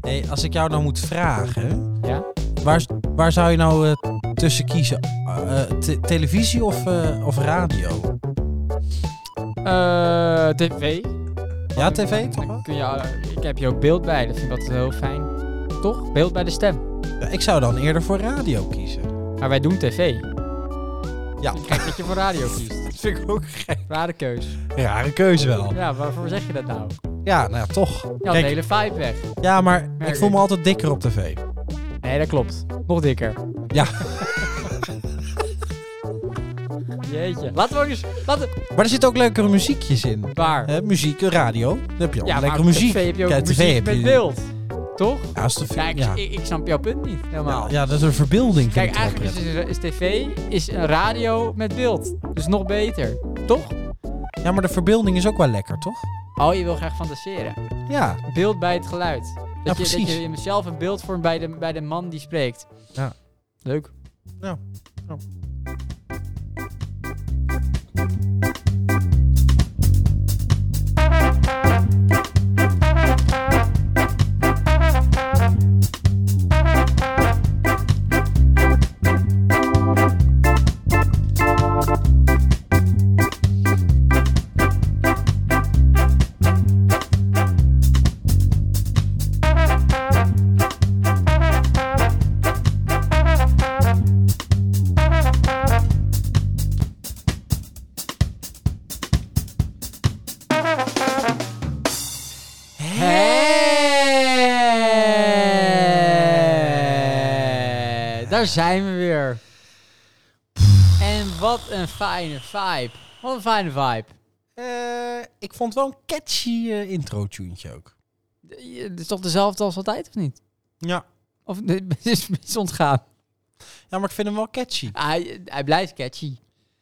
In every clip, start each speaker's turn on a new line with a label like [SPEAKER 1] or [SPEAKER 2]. [SPEAKER 1] Hey, als ik jou nou moet vragen,
[SPEAKER 2] Ja?
[SPEAKER 1] waar, waar zou je nou eh, tussen kiezen? Eh, eh, te- televisie of, eh, of radio?
[SPEAKER 2] Eh, tv.
[SPEAKER 1] Ja, Ah, tv toch?
[SPEAKER 2] Dan
[SPEAKER 1] wel?
[SPEAKER 2] kun je, eh, ik heb hier ook beeld bij, dat vind ik altijd heel fijn. Toch? Beeld bij de stem.
[SPEAKER 1] Ja, ik zou dan eerder voor radio kiezen.
[SPEAKER 2] Maar wij doen tv.
[SPEAKER 1] Ja.
[SPEAKER 2] Kijk dat je voor radio kiest.
[SPEAKER 1] Dat vind ik ook geen
[SPEAKER 2] Rare keus.
[SPEAKER 1] rare keuze wel.
[SPEAKER 2] Ja, waarvoor zeg je dat nou?
[SPEAKER 1] Ja, nou ja, toch.
[SPEAKER 2] Je had de hele vibe weg.
[SPEAKER 1] ja, maar
[SPEAKER 2] Merk
[SPEAKER 1] ik voel
[SPEAKER 2] ik.
[SPEAKER 1] me altijd dikker op tv.
[SPEAKER 2] Nee, dat klopt. Nog dikker.
[SPEAKER 1] Ja.
[SPEAKER 2] Jeetje. Laten we ook eens... Laten...
[SPEAKER 1] Maar er zitten ook leukere muziekjes in.
[SPEAKER 2] Waar?
[SPEAKER 1] Hè, muziek, radio. Dan heb je ook lekkere
[SPEAKER 2] op
[SPEAKER 1] muziek.
[SPEAKER 2] tv heb je ook
[SPEAKER 1] Kijk,
[SPEAKER 2] muziek met beeld. Toch?
[SPEAKER 1] Ja, als de,
[SPEAKER 2] Kijk,
[SPEAKER 1] ja.
[SPEAKER 2] ik, ik snap jouw punt niet helemaal.
[SPEAKER 1] Ja, ja, dat is een verbeelding. vind
[SPEAKER 2] Kijk,
[SPEAKER 1] ik wel
[SPEAKER 2] eigenlijk is, is tv is een radio met beeld. Dus nog beter. Toch?
[SPEAKER 1] prettig. Ja, maar de verbeelding is ook wel lekker, toch?
[SPEAKER 2] Oh, je wil graag fantaseren.
[SPEAKER 1] Ja.
[SPEAKER 2] Beeld bij het geluid. Dat, je,
[SPEAKER 1] precies.
[SPEAKER 2] dat je zelf een beeld vormt bij de, bij de man die spreekt.
[SPEAKER 1] Ja.
[SPEAKER 2] Leuk.
[SPEAKER 1] Ja. Ja.
[SPEAKER 2] Hey! Daar zijn we weer. En wat een fijne vibe. Wat een fijne vibe.
[SPEAKER 1] Eh, ik vond wel een catchy intro-tuentje ook.
[SPEAKER 2] D- je- Het is toch dezelfde als altijd, of niet?
[SPEAKER 1] Ja.
[SPEAKER 2] Of nee, het is het is ontgaan?
[SPEAKER 1] Ja, maar ik vind hem wel catchy.
[SPEAKER 2] Hij, hij blijft catchy.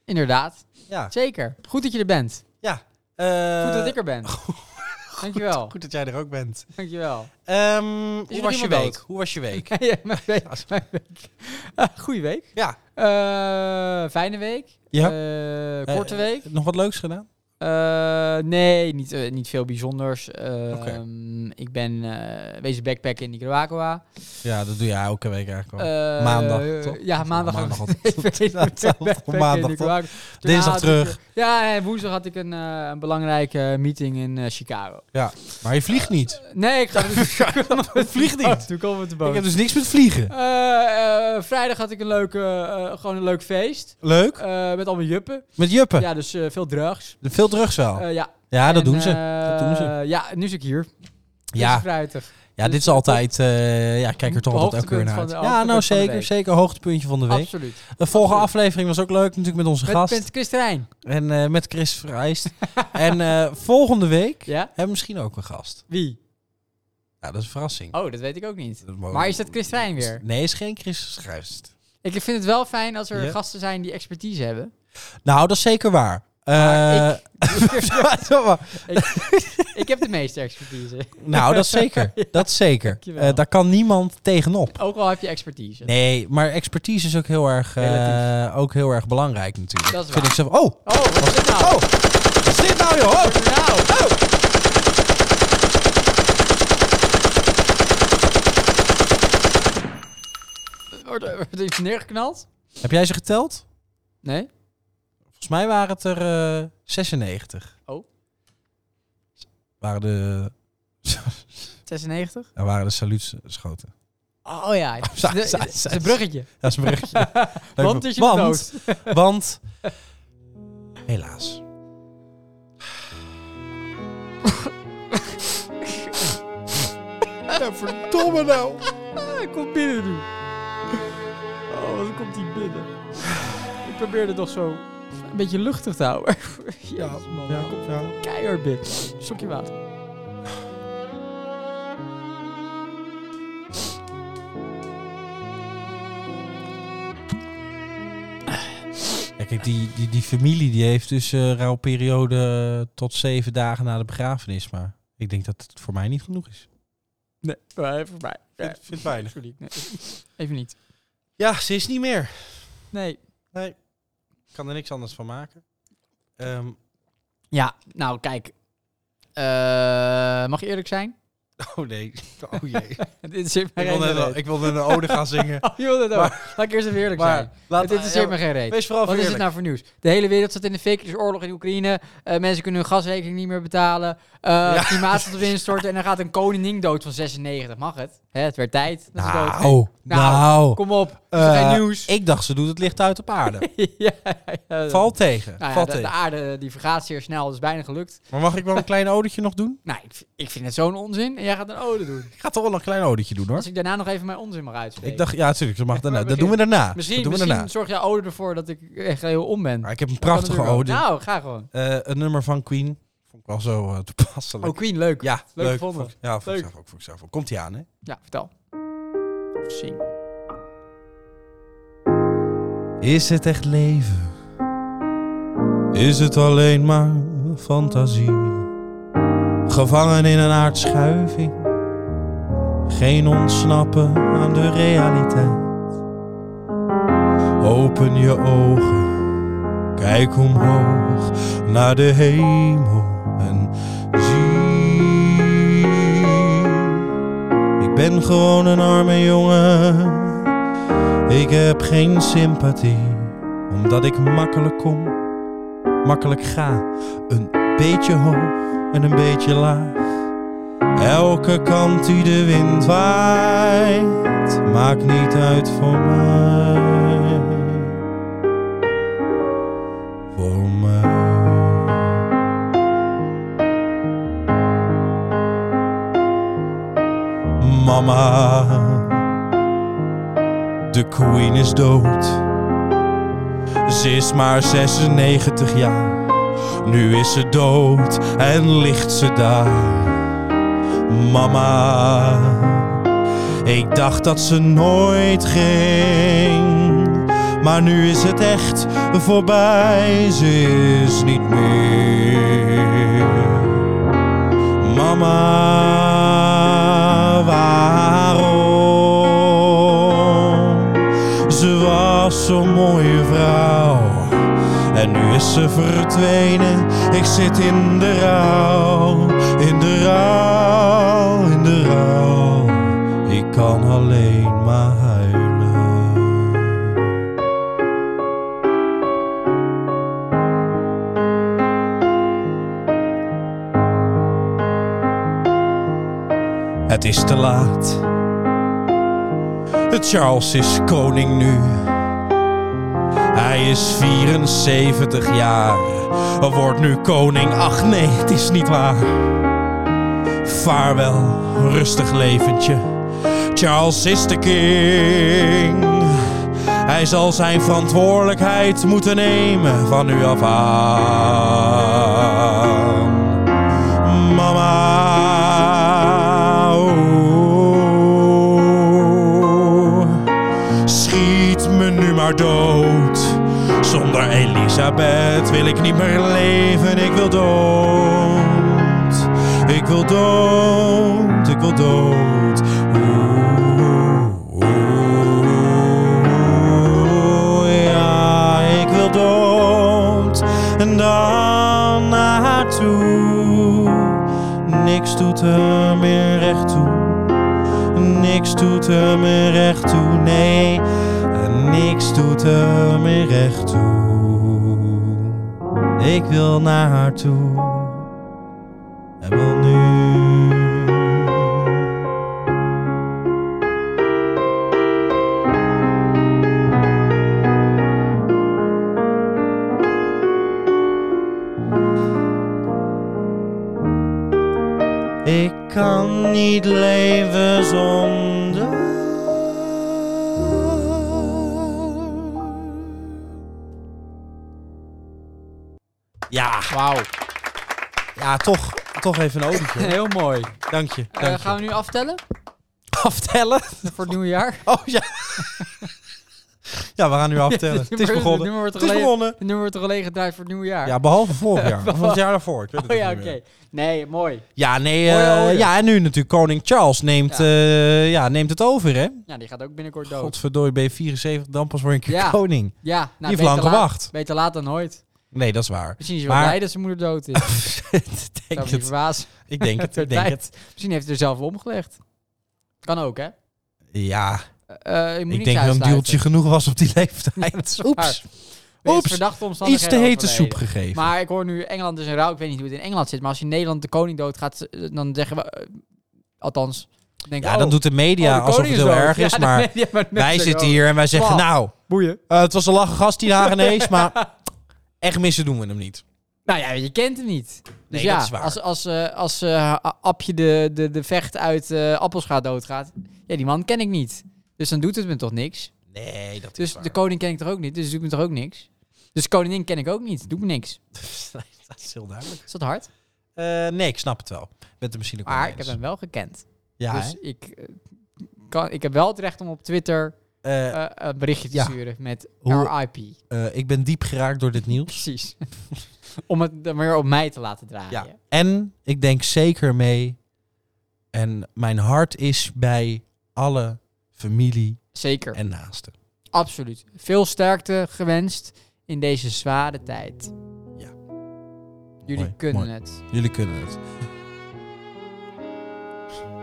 [SPEAKER 2] Inderdaad.
[SPEAKER 1] Ja.
[SPEAKER 2] Zeker. Goed dat je er bent.
[SPEAKER 1] ja.
[SPEAKER 2] Goed dat
[SPEAKER 1] Eh,
[SPEAKER 2] ik er ben. Dankjewel.
[SPEAKER 1] goed dat jij er ook bent.
[SPEAKER 2] Dankjewel.
[SPEAKER 1] Ehm, hoe
[SPEAKER 2] er
[SPEAKER 1] was je week?
[SPEAKER 2] iemand dood?
[SPEAKER 1] Hoe was je week?
[SPEAKER 2] ja, mijn week. Mijn week. Eh, goeie week.
[SPEAKER 1] ja.
[SPEAKER 2] Eh, fijne week.
[SPEAKER 1] Ja.
[SPEAKER 2] Eh, korte
[SPEAKER 1] Eh,
[SPEAKER 2] week.
[SPEAKER 1] Nog wat leuks gedaan?
[SPEAKER 2] Eh, nee, niet, eh, niet veel bijzonders. Eh,
[SPEAKER 1] Oké.
[SPEAKER 2] ehm, Ik ben eh wezen backpacken in Nicaragua.
[SPEAKER 1] Ja, dat doe jij elke week eigenlijk wel.
[SPEAKER 2] Eh,
[SPEAKER 1] maandag, toch?
[SPEAKER 2] Ja, maandag.
[SPEAKER 1] Maandag
[SPEAKER 2] had
[SPEAKER 1] altijd.
[SPEAKER 2] ik even
[SPEAKER 1] Ja,
[SPEAKER 2] backpacken in
[SPEAKER 1] op maandag, toch?
[SPEAKER 2] Nicaragua. Daarna
[SPEAKER 1] Dinsdag
[SPEAKER 2] had ik,
[SPEAKER 1] terug.
[SPEAKER 2] eh, ja, en woensdag had ik een, eh, een belangrijke meeting in eh, Chicago.
[SPEAKER 1] Maar je vliegt niet.
[SPEAKER 2] Nee, ik ga dus...
[SPEAKER 1] Vlieg niet.
[SPEAKER 2] Toen komen we te
[SPEAKER 1] Ik
[SPEAKER 2] boven.
[SPEAKER 1] heb dus niks met vliegen.
[SPEAKER 2] Eh, eh, vrijdag had ik een, leuke, eh, gewoon een leuk feest.
[SPEAKER 1] Leuk.
[SPEAKER 2] Eh, met allemaal juppen.
[SPEAKER 1] Met Juppen.
[SPEAKER 2] Ja, dus eh, veel drugs.
[SPEAKER 1] Veel drugs wel.
[SPEAKER 2] Eh, ja.
[SPEAKER 1] Oh. ja, dat
[SPEAKER 2] En,
[SPEAKER 1] doen ze.
[SPEAKER 2] eh,
[SPEAKER 1] Dat doen ze.
[SPEAKER 2] Ja, nu zit ik hier. Ja.
[SPEAKER 1] Ja,
[SPEAKER 2] Fruitig.
[SPEAKER 1] ja, dit is altijd... eh, ja, ik kijk er toch altijd elke keer naar uit.
[SPEAKER 2] Hoogtepunt van de-
[SPEAKER 1] Ja, nou
[SPEAKER 2] hoogtepunt van de
[SPEAKER 1] zeker.
[SPEAKER 2] week.
[SPEAKER 1] Zeker hoogtepuntje van de week.
[SPEAKER 2] Absoluut.
[SPEAKER 1] De vorige
[SPEAKER 2] Absoluut.
[SPEAKER 1] aflevering was ook leuk, natuurlijk met onze
[SPEAKER 2] Met,
[SPEAKER 1] gast.
[SPEAKER 2] met Chris Terijn.
[SPEAKER 1] En eh, met Chris Vrijst. en eh, volgende week
[SPEAKER 2] Ja?
[SPEAKER 1] hebben we misschien ook een gast.
[SPEAKER 2] Wie?
[SPEAKER 1] Ja, dat is een verrassing.
[SPEAKER 2] Oh, dat weet ik ook niet.
[SPEAKER 1] Dat mogen-
[SPEAKER 2] Maar is dat Chris Terijn weer?
[SPEAKER 1] Nee, is geen Chris Vrijst.
[SPEAKER 2] Ik vind het wel fijn als er
[SPEAKER 1] Ja.
[SPEAKER 2] gasten zijn die expertise hebben.
[SPEAKER 1] Nou, dat is zeker waar.
[SPEAKER 2] Maar
[SPEAKER 1] Eh,
[SPEAKER 2] Ik heb de meeste expertise.
[SPEAKER 1] nou, dat is zeker. Dat is zeker.
[SPEAKER 2] Dankjewel.
[SPEAKER 1] Eh, daar kan niemand tegenop.
[SPEAKER 2] Ook al heb je expertise.
[SPEAKER 1] Nee, maar expertise is ook heel erg, eh, ook heel erg belangrijk natuurlijk.
[SPEAKER 2] Dat is
[SPEAKER 1] Vind ik
[SPEAKER 2] waar.
[SPEAKER 1] zo. Oh,
[SPEAKER 2] Oh, wat is dit nou?
[SPEAKER 1] oh, wat is dit nou joh? Oh,
[SPEAKER 2] Wat is dit nou? Wordt er wordt er iets neergeknald?
[SPEAKER 1] Heb jij ze geteld?
[SPEAKER 2] Nee?
[SPEAKER 1] Volgens mij waren het er eh, 96.
[SPEAKER 2] Oh.
[SPEAKER 1] Waren de,
[SPEAKER 2] 96?
[SPEAKER 1] er waren de saluutschoten.
[SPEAKER 2] Oh ja, het is
[SPEAKER 1] Zij-
[SPEAKER 2] een-
[SPEAKER 1] zij-
[SPEAKER 2] het is
[SPEAKER 1] zij-
[SPEAKER 2] een bruggetje.
[SPEAKER 1] Dat is een berichtje.
[SPEAKER 2] Want is je dood.
[SPEAKER 1] want, want, helaas. ja, verdomme nou.
[SPEAKER 2] Ah, Hij komt binnen nu. Oh, wat komt hij binnen? Ik probeerde toch zo een beetje luchtig te houden. Jezus, man, hij komt keihard binnen. Sokje water.
[SPEAKER 1] Ja, kijk, die, die, die familie die heeft dus eh rouwperiode tot zeven dagen na de begrafenis. Maar ik denk dat het voor mij niet genoeg is.
[SPEAKER 2] Nee, eh, voor mij. Nee,
[SPEAKER 1] Vind- vind weinig.
[SPEAKER 2] sorry, nee. Even niet.
[SPEAKER 1] Ja, ze is niet meer.
[SPEAKER 2] Nee.
[SPEAKER 1] Ik kan er niks anders van maken. Ehm,
[SPEAKER 2] Ja, nou kijk. Eh, mag je eerlijk zijn?
[SPEAKER 1] Oh nee. Oh jee.
[SPEAKER 2] Dit is
[SPEAKER 1] ik, wil net, een- ik wil net een ode gaan zingen.
[SPEAKER 2] Oh, joh, dat ook. Laat ik eerst even eerlijk zijn.
[SPEAKER 1] Maar laat,
[SPEAKER 2] Het interesseert me geen reet.
[SPEAKER 1] Wees vooral
[SPEAKER 2] Wat is het
[SPEAKER 1] eerlijk.
[SPEAKER 2] nou voor nieuws? De hele wereld zat in de fake, dus oorlog in Oekraïne. Eh, mensen kunnen hun gasrekening niet meer betalen. Eh
[SPEAKER 1] Ja.
[SPEAKER 2] Klimaat staat op instorten. En dan gaat een koningin dood van 96. Mag het? Hè, het werd tijd. Dat ze dood. ging.
[SPEAKER 1] Nou, nou.
[SPEAKER 2] Kom op. Het is
[SPEAKER 1] Eh,
[SPEAKER 2] geen nieuws.
[SPEAKER 1] Ik dacht, ze doet het licht uit op aarde.
[SPEAKER 2] ja, ja, dat-
[SPEAKER 1] Valt tegen.
[SPEAKER 2] Nou ja,
[SPEAKER 1] valt
[SPEAKER 2] de, de
[SPEAKER 1] tegen.
[SPEAKER 2] aarde die vergaat zeer snel. Dat is bijna gelukt.
[SPEAKER 1] Maar mag ik wel een klein odetje nog doen?
[SPEAKER 2] Nou, ik, v- ik vind het zo'n onzin. En jij gaat een ode doen.
[SPEAKER 1] Ik ga toch wel een klein odetje doen hoor.
[SPEAKER 2] Als ik daarna nog even mijn onzin mag uitspreken.
[SPEAKER 1] Ik dacht, ja, natuurlijk. Dat, mag
[SPEAKER 2] Ja,
[SPEAKER 1] daarna.
[SPEAKER 2] maar
[SPEAKER 1] dat doen we daarna.
[SPEAKER 2] misschien
[SPEAKER 1] dat doen we
[SPEAKER 2] misschien
[SPEAKER 1] daarna.
[SPEAKER 2] zorg jij ode ervoor dat ik echt heel om ben.
[SPEAKER 1] Maar ik heb een
[SPEAKER 2] Dat kan
[SPEAKER 1] prachtige
[SPEAKER 2] natuurlijk
[SPEAKER 1] ode.
[SPEAKER 2] wel. Nou, ga gewoon.
[SPEAKER 1] Eh, een nummer van Queen. Vond ik wel zo eh, toepasselijk.
[SPEAKER 2] Oh, Queen, leuk.
[SPEAKER 1] Ja,
[SPEAKER 2] Leuk
[SPEAKER 1] leuk.
[SPEAKER 2] gevonden.
[SPEAKER 1] Vond ik- ja, vond ik
[SPEAKER 2] Leuk.
[SPEAKER 1] zelf ook. Vond ik zelf ook. Komt ie aan, hè?
[SPEAKER 2] Ja, vertel. Zing.
[SPEAKER 1] Is het echt leven? Is het alleen maar fantasie? Gevangen in een aardschuiving. Geen ontsnappen aan de realiteit. Open je ogen, kijk omhoog naar de hemel en zie. Ik ben gewoon een arme jongen. Ik heb geen sympathie, omdat ik makkelijk kom, makkelijk ga. Een beetje hoog en een beetje laag. Elke kant die de wind waait, maakt niet uit voor mij. Voor mij. Mama. De queen is dood. Ze is maar 96 jaar. Nu is ze dood en ligt ze daar. Mama, ik dacht dat ze nooit ging. Maar nu is het echt voorbij. Ze is niet meer. Mama, waarom? Ze was zo'n mooie vrouw. En nu is ze verdwenen. Ik zit in de rouw, in de rouw, in de rouw. Ik kan alleen maar huilen. Het is te laat. Charles is koning nu. Hij is 74 jaar. Wordt nu koning. Ach nee, het is niet waar. Vaarwel, rustig leventje. Charles is de king. Hij zal zijn verantwoordelijkheid moeten nemen van nu af aan. Mama. oeh. Schiet me nu maar dood. Zonder Elisabeth wil ik niet meer leven. Ik wil dood. Ik wil dood. Ik wil dood. Oeh, oeh, ja, ik wil dood. En dan naar haar toe. Niks doet er meer recht toe. Niks doet hem er recht toe, nee. Niks doet hem er recht toe. Ik wil naar haar toe. En wel nu. Ik kan niet leven zonder. Ja,
[SPEAKER 2] Wauw.
[SPEAKER 1] ja toch, toch even een olietje.
[SPEAKER 2] Heel mooi.
[SPEAKER 1] Dank je.
[SPEAKER 2] Eh,
[SPEAKER 1] Dank je.
[SPEAKER 2] gaan we nu aftellen
[SPEAKER 1] aftellen?
[SPEAKER 2] voor het nieuwe jaar?
[SPEAKER 1] Oh ja. ja, we gaan nu aftellen. Het is
[SPEAKER 2] nummer-
[SPEAKER 1] begonnen.
[SPEAKER 2] nummer wordt
[SPEAKER 1] Het is
[SPEAKER 2] gelegen-
[SPEAKER 1] begonnen.
[SPEAKER 2] Het nummer wordt al leeg gedraaid voor het nieuwe jaar.
[SPEAKER 1] Ja, behalve vorig jaar. Of het jaar daarvoor. Ik weet het
[SPEAKER 2] oh ja,
[SPEAKER 1] niet
[SPEAKER 2] oké.
[SPEAKER 1] meer.
[SPEAKER 2] Nee, mooi.
[SPEAKER 1] Ja, nee.
[SPEAKER 2] Mooie
[SPEAKER 1] eh,
[SPEAKER 2] ode.
[SPEAKER 1] ja, en nu natuurlijk koning Charles neemt,
[SPEAKER 2] Ja.
[SPEAKER 1] ja. ja, neemt het over, hè?
[SPEAKER 2] Ja, die gaat ook binnenkort dood.
[SPEAKER 1] Godverdooi, ben je 74, dan pas word je een keer
[SPEAKER 2] Ja.
[SPEAKER 1] koning.
[SPEAKER 2] Ja, nou,
[SPEAKER 1] Die heeft
[SPEAKER 2] beter
[SPEAKER 1] lang
[SPEAKER 2] laat-
[SPEAKER 1] gewacht.
[SPEAKER 2] Beter laat dan nooit.
[SPEAKER 1] Nee, dat is waar.
[SPEAKER 2] Misschien is hij wel
[SPEAKER 1] Maar-
[SPEAKER 2] blij dat zijn moeder dood is.
[SPEAKER 1] Ik
[SPEAKER 2] Zou
[SPEAKER 1] denk
[SPEAKER 2] me niet
[SPEAKER 1] het.
[SPEAKER 2] verbazen.
[SPEAKER 1] Ik denk het, ik denk het. Eh,
[SPEAKER 2] Misschien heeft hij er zelf omgelegd. Kan ook, hè?
[SPEAKER 1] Ja,
[SPEAKER 2] Eh, je moet
[SPEAKER 1] ik denk
[SPEAKER 2] niks
[SPEAKER 1] dat een
[SPEAKER 2] uitsluiten.
[SPEAKER 1] duwtje genoeg was op die
[SPEAKER 2] Ja,
[SPEAKER 1] leeftijd.
[SPEAKER 2] dat is waar.
[SPEAKER 1] Oeps,
[SPEAKER 2] Wees
[SPEAKER 1] Oeps,
[SPEAKER 2] verdachte omstandigheden
[SPEAKER 1] iets te hete
[SPEAKER 2] overleden.
[SPEAKER 1] soep gegeven.
[SPEAKER 2] Maar ik hoor nu, Engeland is een rouw. Ik weet niet hoe het in Engeland zit. Maar als in Nederland de koning doodgaat, eh, dan zeggen we... eh, althans, denk oh,
[SPEAKER 1] ja, dan doet de media alsof het heel erg is, maar wij zitten hier en wij zeggen,
[SPEAKER 2] Wow.
[SPEAKER 1] nou,
[SPEAKER 2] Boeien.
[SPEAKER 1] eh, het was een lachen gast die Hagenees, maar echt missen doen we hem niet.
[SPEAKER 2] Nou ja, je kent hem niet. Dus
[SPEAKER 1] Nee,
[SPEAKER 2] ja,
[SPEAKER 1] dat is waar.
[SPEAKER 2] als, als, eh, als eh, A- Apje de, de, de vecht uit eh Appels gaat doodgaat... Ja, die man ken ik niet. Dus dan doet het me toch niks.
[SPEAKER 1] Nee, dat
[SPEAKER 2] Dus
[SPEAKER 1] is waar.
[SPEAKER 2] de koning ken ik toch ook niet, dus het doet me toch ook niks. Dus de koningin ken ik ook niet, doet me niks.
[SPEAKER 1] dat is heel duidelijk.
[SPEAKER 2] Is dat hard?
[SPEAKER 1] Eh, nee, ik snap het wel. Ik ben het er misschien ook wel
[SPEAKER 2] Maar
[SPEAKER 1] mee
[SPEAKER 2] ik heb
[SPEAKER 1] eens.
[SPEAKER 2] hem wel gekend.
[SPEAKER 1] Ja,
[SPEAKER 2] dus ik, eh, kan, ik heb wel het recht om op Twitter
[SPEAKER 1] hè? Eh,
[SPEAKER 2] eh, nou, ah. een berichtje te
[SPEAKER 1] ja.
[SPEAKER 2] sturen met
[SPEAKER 1] Hoe-
[SPEAKER 2] RIP.
[SPEAKER 1] eh, ik ben diep geraakt door dit nieuws.
[SPEAKER 2] Precies. om het dan weer op mij te laten draaien.
[SPEAKER 1] Ja. En ik denk zeker mee. En mijn hart is bij alle familie
[SPEAKER 2] Zeker,
[SPEAKER 1] en naasten.
[SPEAKER 2] absoluut. Veel sterkte gewenst in deze zware tijd.
[SPEAKER 1] Ja.
[SPEAKER 2] Jullie
[SPEAKER 1] Mooi,
[SPEAKER 2] kunnen
[SPEAKER 1] mooi.
[SPEAKER 2] het.
[SPEAKER 1] Jullie kunnen het.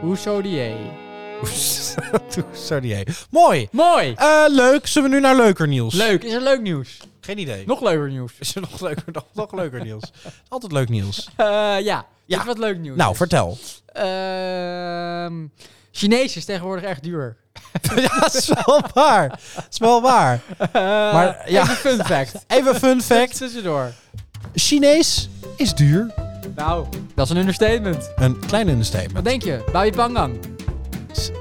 [SPEAKER 2] Hoezo die hé?
[SPEAKER 1] Sorry. hé. Mooi.
[SPEAKER 2] Mooi!
[SPEAKER 1] Eh, leuk. Zullen we nu naar leuker nieuws?
[SPEAKER 2] Leuk, is er leuk nieuws?
[SPEAKER 1] Geen idee.
[SPEAKER 2] Nog leuker nieuws.
[SPEAKER 1] Is er nog leuker, nog, nog leuker nieuws? Altijd leuk nieuws.
[SPEAKER 2] Eh, ja,
[SPEAKER 1] Ja.
[SPEAKER 2] Dit is wat leuk nieuws.
[SPEAKER 1] Nou,
[SPEAKER 2] is.
[SPEAKER 1] vertel.
[SPEAKER 2] Ehm, Chinees is tegenwoordig echt duur.
[SPEAKER 1] ja, dat is wel waar. Dat is wel waar. Maar,
[SPEAKER 2] maar
[SPEAKER 1] ja.
[SPEAKER 2] ja. Eh, even fun fact.
[SPEAKER 1] Even fun fact.
[SPEAKER 2] tussendoor.
[SPEAKER 1] Chinees is duur.
[SPEAKER 2] Nou, dat is een understatement.
[SPEAKER 1] Een klein
[SPEAKER 2] Wat
[SPEAKER 1] understatement.
[SPEAKER 2] denk je? Bouw je pangang?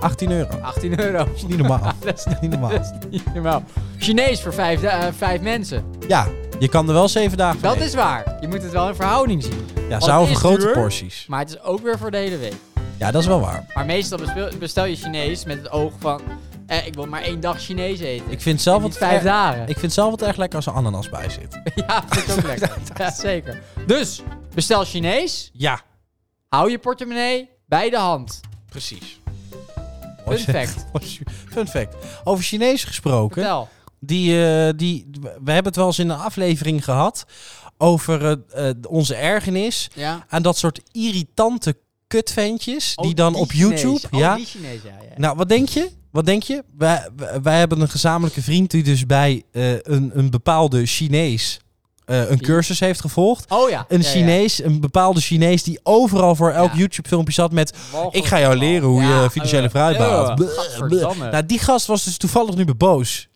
[SPEAKER 1] 18 euro.
[SPEAKER 2] 18 euro.
[SPEAKER 1] Dat is niet normaal.
[SPEAKER 2] dat is
[SPEAKER 1] Niet normaal.
[SPEAKER 2] dat is niet normaal. Chinees voor vijf, eh, vijf mensen.
[SPEAKER 1] Ja, je kan er wel zeven dagen
[SPEAKER 2] Dat
[SPEAKER 1] mee.
[SPEAKER 2] is waar. Je moet het wel in verhouding zien.
[SPEAKER 1] Ja,
[SPEAKER 2] Want
[SPEAKER 1] zou voor
[SPEAKER 2] het is
[SPEAKER 1] grote
[SPEAKER 2] duur.
[SPEAKER 1] porties.
[SPEAKER 2] Maar het is ook weer voor de hele week.
[SPEAKER 1] Ja, dat is wel waar.
[SPEAKER 2] Maar meestal bespeel- bestel je Chinees met het oog van... eh, ik wil maar één dag Chinees eten.
[SPEAKER 1] Ik vind zelf
[SPEAKER 2] En
[SPEAKER 1] wat
[SPEAKER 2] niet vijf dagen.
[SPEAKER 1] Ik vind zelf wat erg lekker als er ananas bij zit.
[SPEAKER 2] Ja, vind ik ook lekker. Ja, zeker. Dus, bestel Chinees.
[SPEAKER 1] Ja,
[SPEAKER 2] Hou je portemonnee bij de hand.
[SPEAKER 1] precies.
[SPEAKER 2] Fun fact.
[SPEAKER 1] Fun fact. Over Chinees gesproken.
[SPEAKER 2] Vertel.
[SPEAKER 1] Die, eh, die, we hebben het wel eens in een aflevering gehad over eh, eh, onze ergernis
[SPEAKER 2] Ja.
[SPEAKER 1] aan dat soort irritante kutventjes
[SPEAKER 2] Oh,
[SPEAKER 1] die dan op YouTube...
[SPEAKER 2] ja?
[SPEAKER 1] ja,
[SPEAKER 2] Oh, die Chinees, ja. ja.
[SPEAKER 1] Nou, wat denk je? Wat denk je? Wij, wij- wij hebben een gezamenlijke vriend die dus bij eh, een, een bepaalde Chinees eh, een
[SPEAKER 2] Chi-
[SPEAKER 1] cursus heeft gevolgd.
[SPEAKER 2] oh ja.
[SPEAKER 1] Nou, Een
[SPEAKER 2] Ja, ja.
[SPEAKER 1] Chinees, een bepaalde Chinees die overal voor elk
[SPEAKER 2] Ja.
[SPEAKER 1] YouTube-filmpje zat met...
[SPEAKER 2] Walgelijk
[SPEAKER 1] Ik ga jou
[SPEAKER 2] man.
[SPEAKER 1] leren hoe
[SPEAKER 2] Ja,
[SPEAKER 1] je financiële
[SPEAKER 2] eh,
[SPEAKER 1] vrijheid
[SPEAKER 2] eh,
[SPEAKER 1] behaalt. Bleh,
[SPEAKER 2] gadverdamme.
[SPEAKER 1] bleh. Nou, die gast was dus toevallig nu bij Boos.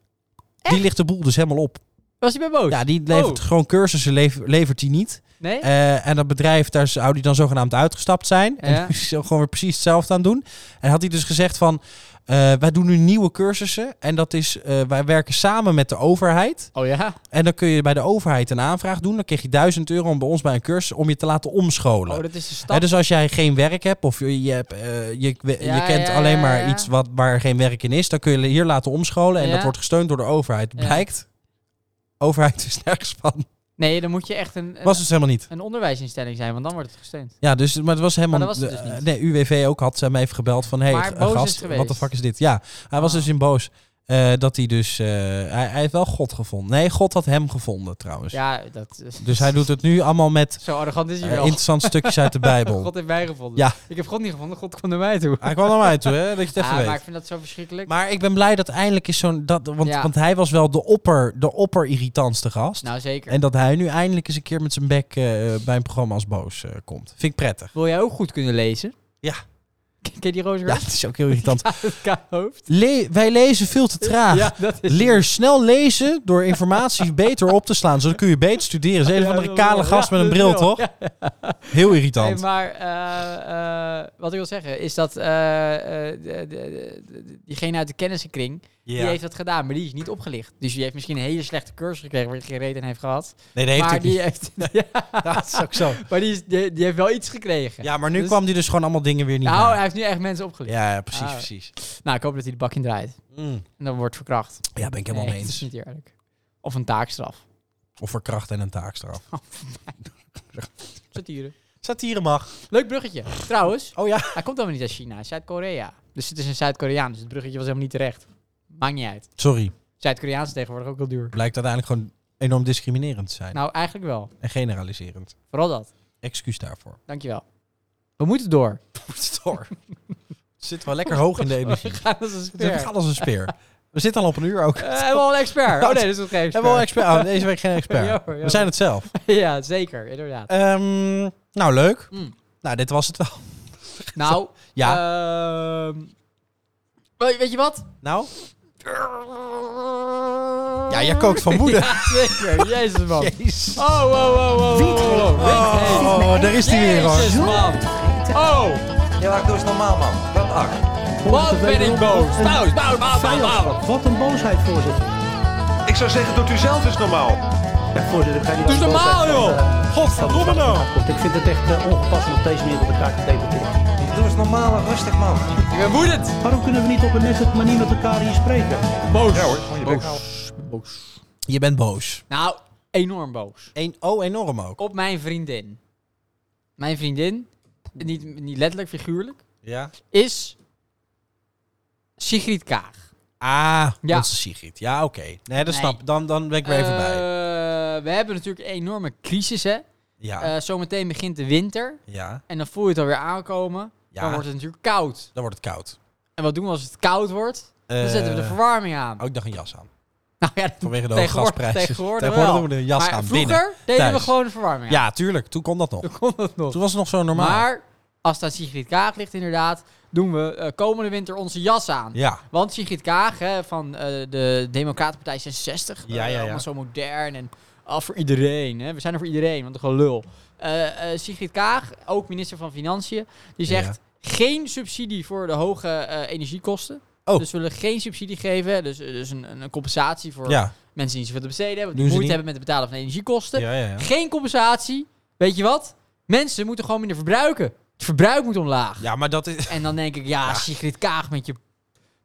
[SPEAKER 1] Die ligt de boel dus helemaal op.
[SPEAKER 2] Was hij bij boos?
[SPEAKER 1] Ja, die levert
[SPEAKER 2] Oh.
[SPEAKER 1] gewoon cursussen, lever- levert hij niet.
[SPEAKER 2] Nee?
[SPEAKER 1] Eh, en dat bedrijf, daar zou die dan zogenaamd uitgestapt zijn. En
[SPEAKER 2] Ja.
[SPEAKER 1] die zou gewoon weer precies hetzelfde aan doen. En had hij dus gezegd van, eh, wij doen nu nieuwe cursussen. En dat is, eh, wij werken samen met de overheid.
[SPEAKER 2] oh ja?
[SPEAKER 1] En dan kun je bij de overheid een aanvraag doen. Dan kreeg je 1000 euro om bij ons bij een cursus om je te laten omscholen.
[SPEAKER 2] Oh, dat is de stap.
[SPEAKER 1] Hè, dus als jij geen werk hebt of je, je, hebt, eh, je, je
[SPEAKER 2] Ja,
[SPEAKER 1] kent
[SPEAKER 2] ja,
[SPEAKER 1] alleen
[SPEAKER 2] ja,
[SPEAKER 1] maar
[SPEAKER 2] ja.
[SPEAKER 1] iets wat, waar geen werk in is, dan kun je hier laten omscholen. En
[SPEAKER 2] Ja.
[SPEAKER 1] dat wordt gesteund door de overheid.
[SPEAKER 2] Ja.
[SPEAKER 1] Blijkt, overheid is nergens van.
[SPEAKER 2] Nee, dan moet je echt een, een,
[SPEAKER 1] Was dus helemaal niet.
[SPEAKER 2] een onderwijsinstelling zijn, want dan wordt het gesteund.
[SPEAKER 1] Ja, dus, maar het was helemaal...
[SPEAKER 2] Maar dat was het
[SPEAKER 1] de-
[SPEAKER 2] dus niet.
[SPEAKER 1] Nee, UWV ook had ze hem even gebeld van... Hey,
[SPEAKER 2] Maar
[SPEAKER 1] eh,
[SPEAKER 2] boos is
[SPEAKER 1] gast,
[SPEAKER 2] geweest.
[SPEAKER 1] wat de fuck is dit? Ja, hij was
[SPEAKER 2] Ah.
[SPEAKER 1] dus in boos. eh, dat hij dus... eh, hij, hij heeft wel God gevonden. Nee, God had hem gevonden trouwens.
[SPEAKER 2] Ja, dat is...
[SPEAKER 1] Dus hij doet het nu allemaal met
[SPEAKER 2] Zo arrogant is hij
[SPEAKER 1] eh,
[SPEAKER 2] wel.
[SPEAKER 1] interessante stukjes uit de Bijbel.
[SPEAKER 2] God heeft mij gevonden.
[SPEAKER 1] Ja.
[SPEAKER 2] Ik heb God niet gevonden, God kwam naar mij toe.
[SPEAKER 1] Hij kwam naar mij toe, hè? Dat je het even
[SPEAKER 2] Ah,
[SPEAKER 1] weet.
[SPEAKER 2] maar ik vind dat zo verschrikkelijk.
[SPEAKER 1] Maar ik ben blij dat eindelijk is zo'n... Dat, want,
[SPEAKER 2] Ja.
[SPEAKER 1] want hij was wel de opper, de opper irritantste gast.
[SPEAKER 2] nou, zeker.
[SPEAKER 1] en dat hij nu eindelijk eens een keer met zijn bek eh, bij een programma als boos eh, komt. Vind ik prettig.
[SPEAKER 2] Wil jij ook goed kunnen lezen?
[SPEAKER 1] Ja.
[SPEAKER 2] Ken je die
[SPEAKER 1] Ja,
[SPEAKER 2] roze
[SPEAKER 1] het is ook heel irritant.
[SPEAKER 2] hoofd?
[SPEAKER 1] Le- wij lezen veel te traag.
[SPEAKER 2] Ja, dat is
[SPEAKER 1] Leer snel lezen door informatie beter op te slaan. Zodat kun je beter studeren. Dat is een of andere kale gast met een bril, toch? Heel
[SPEAKER 2] Nee,
[SPEAKER 1] irritant.
[SPEAKER 2] maar eh, eh, wat ik wil zeggen is dat eh, eh, de- de- de- de- diegene uit de kennissenkring, die heeft dat gedaan, maar die is niet opgelicht. Dus die heeft misschien een hele slechte cursus gekregen waar hij geen reden aan heeft gehad.
[SPEAKER 1] Nee, dat heeft
[SPEAKER 2] maar
[SPEAKER 1] hij
[SPEAKER 2] die
[SPEAKER 1] niet.
[SPEAKER 2] heeft, ja,
[SPEAKER 1] Dat is ook zo.
[SPEAKER 2] maar die, is, die, die heeft wel iets gekregen.
[SPEAKER 1] Ja, maar nu
[SPEAKER 2] Dus-
[SPEAKER 1] kwam hij dus gewoon allemaal dingen weer niet
[SPEAKER 2] Nou,
[SPEAKER 1] na.
[SPEAKER 2] hij heeft nu echt mensen opgelicht.
[SPEAKER 1] Ja, ja, precies,
[SPEAKER 2] Ah.
[SPEAKER 1] precies.
[SPEAKER 2] Nou, ik hoop dat hij de bak in draait.
[SPEAKER 1] Mm.
[SPEAKER 2] En dan wordt verkracht.
[SPEAKER 1] Ja, ben ik helemaal
[SPEAKER 2] Nee,
[SPEAKER 1] mee
[SPEAKER 2] dat is
[SPEAKER 1] eens.
[SPEAKER 2] niet eerlijk. Of een taakstraf.
[SPEAKER 1] Of voor kracht en een taakstraf.
[SPEAKER 2] Satire.
[SPEAKER 1] Satire mag.
[SPEAKER 2] Leuk bruggetje. Trouwens,
[SPEAKER 1] Oh ja.
[SPEAKER 2] Hij komt helemaal niet uit China, hij is Zuid-Korea. Dus het is een Zuid-Koreaan, dus het bruggetje was helemaal niet terecht. Maakt niet uit.
[SPEAKER 1] Sorry.
[SPEAKER 2] Zuid-Koreaans is tegenwoordig ook heel duur.
[SPEAKER 1] Blijkt uiteindelijk gewoon enorm discriminerend te zijn.
[SPEAKER 2] Nou, eigenlijk wel.
[SPEAKER 1] En generaliserend.
[SPEAKER 2] Vooral dat.
[SPEAKER 1] Excuus daarvoor.
[SPEAKER 2] Dankjewel. We moeten door.
[SPEAKER 1] Door. Zit wel lekker hoog in de energie.
[SPEAKER 2] We gaan als een
[SPEAKER 1] We
[SPEAKER 2] expert.
[SPEAKER 1] gaan als een speer. We zitten al op een uur ook.
[SPEAKER 2] Eh, hebben we al een expert? Oh nee, dat is nog geen expert.
[SPEAKER 1] Hebben we al expert? Oh, deze week geen expert.
[SPEAKER 2] Ja, hoor, ja,
[SPEAKER 1] We zijn het zelf.
[SPEAKER 2] hoor. Ja, zeker. Inderdaad.
[SPEAKER 1] Ehm, nou, leuk.
[SPEAKER 2] Mm.
[SPEAKER 1] Nou, dit was het wel.
[SPEAKER 2] Nou,
[SPEAKER 1] Ja.
[SPEAKER 2] ehm, we- weet je wat?
[SPEAKER 1] nou? Ja, jij kookt van woede.
[SPEAKER 2] Ja, zeker. Jezus, man.
[SPEAKER 1] Jezus. Oh,
[SPEAKER 2] Oh, wow, wow, wow, wow, wow.
[SPEAKER 1] oh, oh, daar is hij weer
[SPEAKER 2] Jezus,
[SPEAKER 1] hoor.
[SPEAKER 2] man. Oh,
[SPEAKER 3] Ja, maar doe eens normaal, man. Wat ak.
[SPEAKER 2] wat ben ik boos. Nou, Boos, boos, boos, boos, boos.
[SPEAKER 4] Wat een boosheid, voorzitter.
[SPEAKER 5] Ik zou zeggen, doet u zelf eens normaal.
[SPEAKER 4] Ja, voorzitter, ik ga niet
[SPEAKER 2] Doe eens
[SPEAKER 4] aan de
[SPEAKER 2] normaal,
[SPEAKER 4] boosheid van,
[SPEAKER 2] joh.
[SPEAKER 4] eh,
[SPEAKER 1] Godverdomme nou.
[SPEAKER 4] van de komt. Ik vind het echt eh, ongepast om op deze manier op elkaar te debatteren.
[SPEAKER 3] Doe eens normaal en rustig, man.
[SPEAKER 2] Ik ben woedend.
[SPEAKER 4] Waarom kunnen we niet op een nette manier met elkaar hier spreken?
[SPEAKER 2] Boos.
[SPEAKER 5] Ja hoor, gewoon je bek
[SPEAKER 2] boos. boos.
[SPEAKER 1] Je bent boos.
[SPEAKER 2] Nou, enorm boos.
[SPEAKER 1] Eén, oh, enorm ook.
[SPEAKER 2] Op mijn vriendin. Mijn vriendin, niet, niet letterlijk, figuurlijk,
[SPEAKER 1] Ja.
[SPEAKER 2] is Sigrid Kaag.
[SPEAKER 1] Ah,
[SPEAKER 2] Ja.
[SPEAKER 1] onze Sigrid. Ja, oké. Nee, dat
[SPEAKER 2] Nee.
[SPEAKER 1] snap Dan, dan ben ik weer even bij.
[SPEAKER 2] Eh, We hebben natuurlijk een enorme crisis, hè.
[SPEAKER 1] Ja.
[SPEAKER 2] Eh, zometeen begint de winter.
[SPEAKER 1] ja.
[SPEAKER 2] En dan voel je het alweer aankomen.
[SPEAKER 1] Ja.
[SPEAKER 2] Dan wordt het natuurlijk koud.
[SPEAKER 1] Dan wordt het koud.
[SPEAKER 2] En wat doen we als het koud wordt? Dan
[SPEAKER 1] Eh,
[SPEAKER 2] zetten we de verwarming aan.
[SPEAKER 1] Oh, ik dacht een jas aan.
[SPEAKER 2] nou ja,
[SPEAKER 1] Vanwege de hoge
[SPEAKER 2] tegenwoordig,
[SPEAKER 1] gasprijzen.
[SPEAKER 2] Tegenwoordig,
[SPEAKER 1] Tegenwoordig
[SPEAKER 2] wel.
[SPEAKER 1] doen we de jas
[SPEAKER 2] maar
[SPEAKER 1] aan
[SPEAKER 2] vroeger
[SPEAKER 1] binnen.
[SPEAKER 2] deden we
[SPEAKER 1] thuis.
[SPEAKER 2] gewoon de verwarming aan.
[SPEAKER 1] Ja, tuurlijk. Toen kon dat nog.
[SPEAKER 2] Dan kon dat nog.
[SPEAKER 1] Toen was het nog zo normaal.
[SPEAKER 2] Maar als dat Sigrid Kaag ligt inderdaad, doen we eh, komende winter onze jas aan.
[SPEAKER 1] Ja.
[SPEAKER 2] Want Sigrid Kaag hè, van eh, de Democratenpartij 66,
[SPEAKER 1] Ja,
[SPEAKER 2] eh,
[SPEAKER 1] ja, ja.
[SPEAKER 2] allemaal zo modern en ah, voor iedereen. Hè. We zijn er voor iedereen, want een gelul. Eh, eh, Sigrid Kaag, ook minister van Financiën, die zegt geen subsidie voor de hoge eh, energiekosten.
[SPEAKER 1] Oh.
[SPEAKER 2] Dus we willen geen subsidie geven, dus, dus een, een compensatie voor
[SPEAKER 1] Ja.
[SPEAKER 2] mensen die niet zoveel te besteden hebben,
[SPEAKER 1] Doen ze
[SPEAKER 2] die moeite
[SPEAKER 1] niet.
[SPEAKER 2] hebben met het betalen van de energiekosten.
[SPEAKER 1] Ja, ja, ja.
[SPEAKER 2] Geen compensatie. Weet je wat? Mensen moeten gewoon minder verbruiken. Het verbruik moet omlaag.
[SPEAKER 1] Ja, maar dat is...
[SPEAKER 2] En dan denk ik, ja, Sigrid Kaag met je...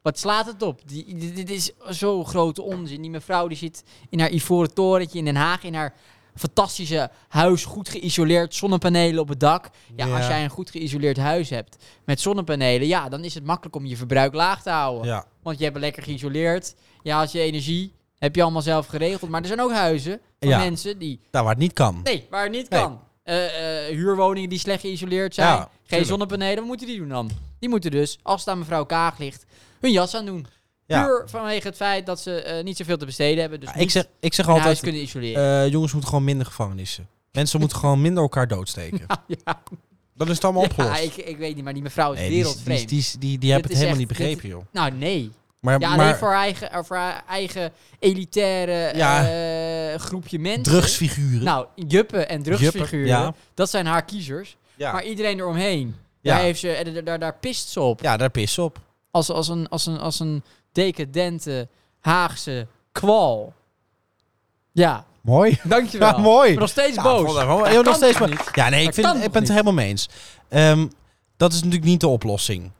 [SPEAKER 2] Wat slaat het op? Die, dit, dit is zo'n grote onzin. Die mevrouw die zit in haar ivoren torentje in Den Haag... in haar fantastische huis, goed geïsoleerd, zonnepanelen op het dak. Ja,
[SPEAKER 1] Ja.
[SPEAKER 2] als jij een goed geïsoleerd huis hebt met zonnepanelen... ja, dan is het makkelijk om je verbruik laag te houden.
[SPEAKER 1] Ja.
[SPEAKER 2] Want je hebt het lekker geïsoleerd. Ja, als je energie... heb je allemaal zelf geregeld. Maar er zijn ook huizen van
[SPEAKER 1] Ja.
[SPEAKER 2] mensen die
[SPEAKER 1] Nou, waar het niet kan.
[SPEAKER 2] Nee, waar het niet
[SPEAKER 1] Nee.
[SPEAKER 2] kan. Eh, eh, huurwoningen die slecht geïsoleerd zijn.
[SPEAKER 1] Ja,
[SPEAKER 2] geen
[SPEAKER 1] tuurlijk.
[SPEAKER 2] zonnepanelen. Wat moeten die doen dan? Die moeten dus, als het aan mevrouw Kaag ligt, hun jas aan doen.
[SPEAKER 1] Ja.
[SPEAKER 2] Puur vanwege het feit dat ze eh, niet zoveel te besteden hebben. Dus
[SPEAKER 1] Ja, ik,
[SPEAKER 2] niet
[SPEAKER 1] zeg, ik zeg
[SPEAKER 2] hun huis
[SPEAKER 1] altijd,
[SPEAKER 2] kunnen isoleren.
[SPEAKER 1] eh, jongens moeten gewoon minder gevangenissen. Mensen moeten gewoon minder elkaar doodsteken.
[SPEAKER 2] ja,
[SPEAKER 1] Dat is het allemaal eh, opgelost.
[SPEAKER 2] Ja, ik, ik weet niet, maar die mevrouw is
[SPEAKER 1] Nee, die, die,
[SPEAKER 2] wereldvreemd.
[SPEAKER 1] die, die, die, die hebben
[SPEAKER 2] is
[SPEAKER 1] het helemaal niet
[SPEAKER 2] echt-
[SPEAKER 1] begrepen, joh.
[SPEAKER 2] Nou, nee.
[SPEAKER 1] Maar,
[SPEAKER 2] Ja, alleen
[SPEAKER 1] maar
[SPEAKER 2] voor haar eigen, eh, voor haar eigen elitaire
[SPEAKER 1] Ja.
[SPEAKER 2] eh, groepje mensen.
[SPEAKER 1] drugsfiguren.
[SPEAKER 2] Nou, juppen en drugsfiguren,
[SPEAKER 1] ja.
[SPEAKER 2] dat zijn haar kiezers.
[SPEAKER 1] ja.
[SPEAKER 2] Maar iedereen eromheen,
[SPEAKER 1] Ja.
[SPEAKER 2] daar, heeft ze, eh, daar, daar, daar pist ze op.
[SPEAKER 1] ja, daar pis ze op.
[SPEAKER 2] als, als, een, als, een, als een decadente Haagse kwal. Ja,
[SPEAKER 1] Mooi.
[SPEAKER 2] dankjewel.
[SPEAKER 1] Ja, mooi.
[SPEAKER 2] Maar nog steeds
[SPEAKER 1] Ja,
[SPEAKER 2] boos.
[SPEAKER 1] vond ik wel-
[SPEAKER 2] Dat
[SPEAKER 1] joh, nog
[SPEAKER 2] kan
[SPEAKER 1] steeds
[SPEAKER 2] toch
[SPEAKER 1] maar-
[SPEAKER 2] niet?
[SPEAKER 1] Ja, nee, ik,
[SPEAKER 2] Dat
[SPEAKER 1] vind,
[SPEAKER 2] kan
[SPEAKER 1] ik
[SPEAKER 2] toch
[SPEAKER 1] ben het
[SPEAKER 2] niet?
[SPEAKER 1] helemaal mee eens. Ehm, dat is natuurlijk niet de oplossing.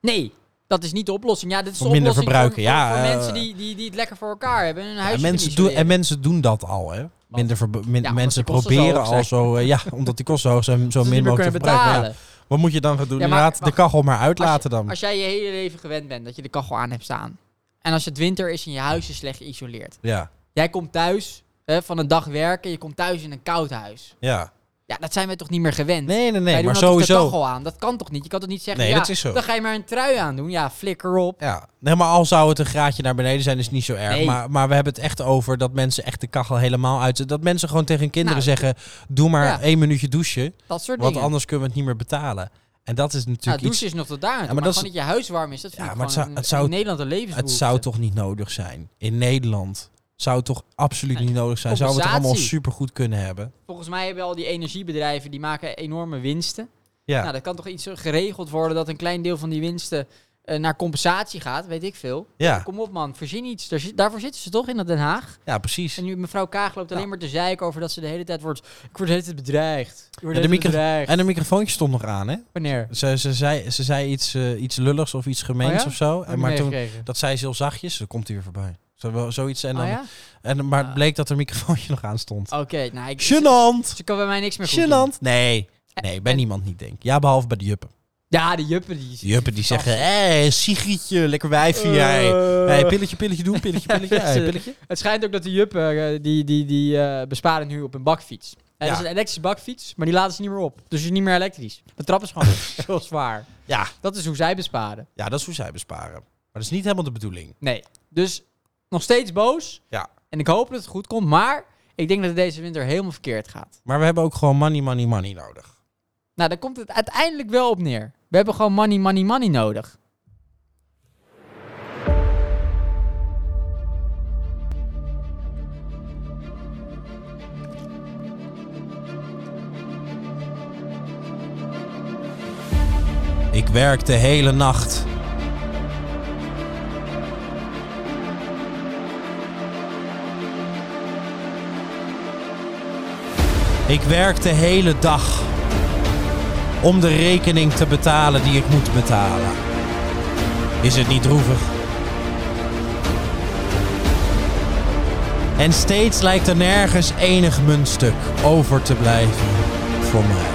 [SPEAKER 2] Nee, dat is niet de oplossing. Ja, dit is
[SPEAKER 1] Voor
[SPEAKER 2] de
[SPEAKER 1] minder
[SPEAKER 2] oplossing voor,
[SPEAKER 1] verbruiken, ja,
[SPEAKER 2] voor, voor
[SPEAKER 1] eh.
[SPEAKER 2] mensen die, die, die het lekker voor elkaar hebben. en Hun
[SPEAKER 1] En
[SPEAKER 2] huisje
[SPEAKER 1] mensen, doen,
[SPEAKER 2] doen,
[SPEAKER 1] en mensen doen dat al, hè. Minder verb- min-
[SPEAKER 2] omdat
[SPEAKER 1] mensen
[SPEAKER 2] die kosten zo
[SPEAKER 1] proberen
[SPEAKER 2] hoog zijn.
[SPEAKER 1] al zo... eh, ja, omdat die kosten zo hoog zijn,
[SPEAKER 2] Dus
[SPEAKER 1] zo min mogelijk te verbruiken. Ja.
[SPEAKER 2] betalen.
[SPEAKER 1] Wat moet je dan gaan doen?
[SPEAKER 2] Ja, maar
[SPEAKER 1] Inderdaad,
[SPEAKER 2] wacht.
[SPEAKER 1] de kachel maar
[SPEAKER 2] Als,
[SPEAKER 1] uitlaten
[SPEAKER 2] je,
[SPEAKER 1] dan.
[SPEAKER 2] als jij je hele leven gewend bent dat je de kachel aan hebt staan. En als het winter is en je huis is slecht geïsoleerd.
[SPEAKER 1] Ja,
[SPEAKER 2] Jij komt thuis hè, van een dag werken. Je komt thuis in een koud huis.
[SPEAKER 1] ja.
[SPEAKER 2] Ja, dat zijn we toch niet meer gewend.
[SPEAKER 1] Nee, nee, nee,
[SPEAKER 2] Wij
[SPEAKER 1] maar
[SPEAKER 2] doen altijd de
[SPEAKER 1] sowieso...
[SPEAKER 2] kachel aan. Dat kan toch niet? Je kan toch niet zeggen,
[SPEAKER 1] Nee,
[SPEAKER 2] ja,
[SPEAKER 1] dat is zo.
[SPEAKER 2] dan ga je maar een trui aandoen. Ja, flikker op.
[SPEAKER 1] Ja, nee, maar al zou het een graadje naar beneden zijn, is niet zo erg.
[SPEAKER 2] Nee.
[SPEAKER 1] Maar, maar we hebben het echt over dat mensen echt de kachel helemaal uit... Dat mensen gewoon tegen hun kinderen
[SPEAKER 2] Nou.
[SPEAKER 1] zeggen... Doe maar
[SPEAKER 2] Ja.
[SPEAKER 1] één minuutje douchen,
[SPEAKER 2] Dat soort
[SPEAKER 1] want
[SPEAKER 2] dingen.
[SPEAKER 1] anders kunnen we het niet meer betalen. En dat is
[SPEAKER 2] ja,
[SPEAKER 1] natuurlijk
[SPEAKER 2] douchen
[SPEAKER 1] iets...
[SPEAKER 2] is nog tot daar. aan toe,
[SPEAKER 1] maar
[SPEAKER 2] maar
[SPEAKER 1] dat
[SPEAKER 2] gewoon
[SPEAKER 1] is-
[SPEAKER 2] dat je huis warm is, dat vind
[SPEAKER 1] Ja,
[SPEAKER 2] ik
[SPEAKER 1] maar het
[SPEAKER 2] gewoon
[SPEAKER 1] zou-
[SPEAKER 2] een-
[SPEAKER 1] het zou-
[SPEAKER 2] in Nederland een
[SPEAKER 1] Het
[SPEAKER 2] levensbehoefte.
[SPEAKER 1] zou toch niet nodig zijn? In Nederland zou het toch absoluut
[SPEAKER 2] Nee,
[SPEAKER 1] niet nodig zijn? Zouden we het allemaal
[SPEAKER 2] compensatie.
[SPEAKER 1] supergoed kunnen hebben?
[SPEAKER 2] Volgens mij hebben al die energiebedrijven, die maken enorme winsten.
[SPEAKER 1] Ja,
[SPEAKER 2] Nou, dat kan toch iets zo geregeld worden dat een klein deel van die winsten eh, naar compensatie gaat, weet ik veel.
[SPEAKER 1] ja.
[SPEAKER 2] Kom op man, verzin iets. Daar zit- daarvoor zitten ze toch in dat Den Haag?
[SPEAKER 1] ja precies.
[SPEAKER 2] En nu mevrouw Kaag loopt alleen
[SPEAKER 1] Ja.
[SPEAKER 2] maar te zeiken over dat ze de hele tijd wordt... Ik word de hele tijd bedreigd. Ik word
[SPEAKER 1] Ja, de
[SPEAKER 2] de hele tijd
[SPEAKER 1] micro-
[SPEAKER 2] bedreigd.
[SPEAKER 1] En de microfoontje stond nog aan, hè?
[SPEAKER 2] Wanneer?
[SPEAKER 1] Ze, ze, zei, ze zei iets, eh, iets lulligs of iets gemeens
[SPEAKER 2] Oh ja?
[SPEAKER 1] of zo.
[SPEAKER 2] Heb
[SPEAKER 1] En,
[SPEAKER 2] je
[SPEAKER 1] maar toen,
[SPEAKER 2] meegekregen?
[SPEAKER 1] dat zei ze heel zachtjes, dan komt hij weer voorbij. Zo, wel- zoiets. En dan,
[SPEAKER 2] Oh ja?
[SPEAKER 1] en, maar het bleek dat er een microfoontje nog aan stond.
[SPEAKER 2] Oké, nou ik...
[SPEAKER 1] Genant!
[SPEAKER 2] Ze kan bij mij niks meer goed Eh, doen.
[SPEAKER 1] Genant! Nee, nee bij
[SPEAKER 2] en-
[SPEAKER 1] niemand niet, denk ik. Ja, behalve bij de juppen.
[SPEAKER 2] Ja, de juppen die...
[SPEAKER 1] De juppen die zeggen, hé, hey, Sigrietje, lekker
[SPEAKER 2] Eh.
[SPEAKER 1] wijfje, jij. Hey, pilletje, pilletje doen, pilletje, pilletje. hey, pilletje.
[SPEAKER 2] Het schijnt ook dat de juppen, eh, die, die, die eh, besparen nu op een bakfiets. En
[SPEAKER 1] Ja.
[SPEAKER 2] dat is een elektrische bakfiets, maar die laden ze niet meer op. Dus je is niet meer elektrisch. De trap is gewoon heel zwaar.
[SPEAKER 1] Ja.
[SPEAKER 2] Dat is hoe zij besparen.
[SPEAKER 1] Ja, dat is hoe zij besparen. Maar dat is niet helemaal de bedoeling.
[SPEAKER 2] Nee. Dus nog steeds boos.
[SPEAKER 1] Ja.
[SPEAKER 2] En ik hoop dat het goed komt. Maar ik denk dat het deze winter helemaal verkeerd gaat.
[SPEAKER 1] Maar we hebben ook gewoon money, money, money nodig.
[SPEAKER 2] Nou, daar komt het uiteindelijk wel op neer. We hebben gewoon money, money, money nodig.
[SPEAKER 1] Ik werk de hele nacht. Ik werk de hele dag om de rekening te betalen die ik moet betalen. Is het niet droevig? En steeds lijkt er nergens enig muntstuk over te blijven voor mij.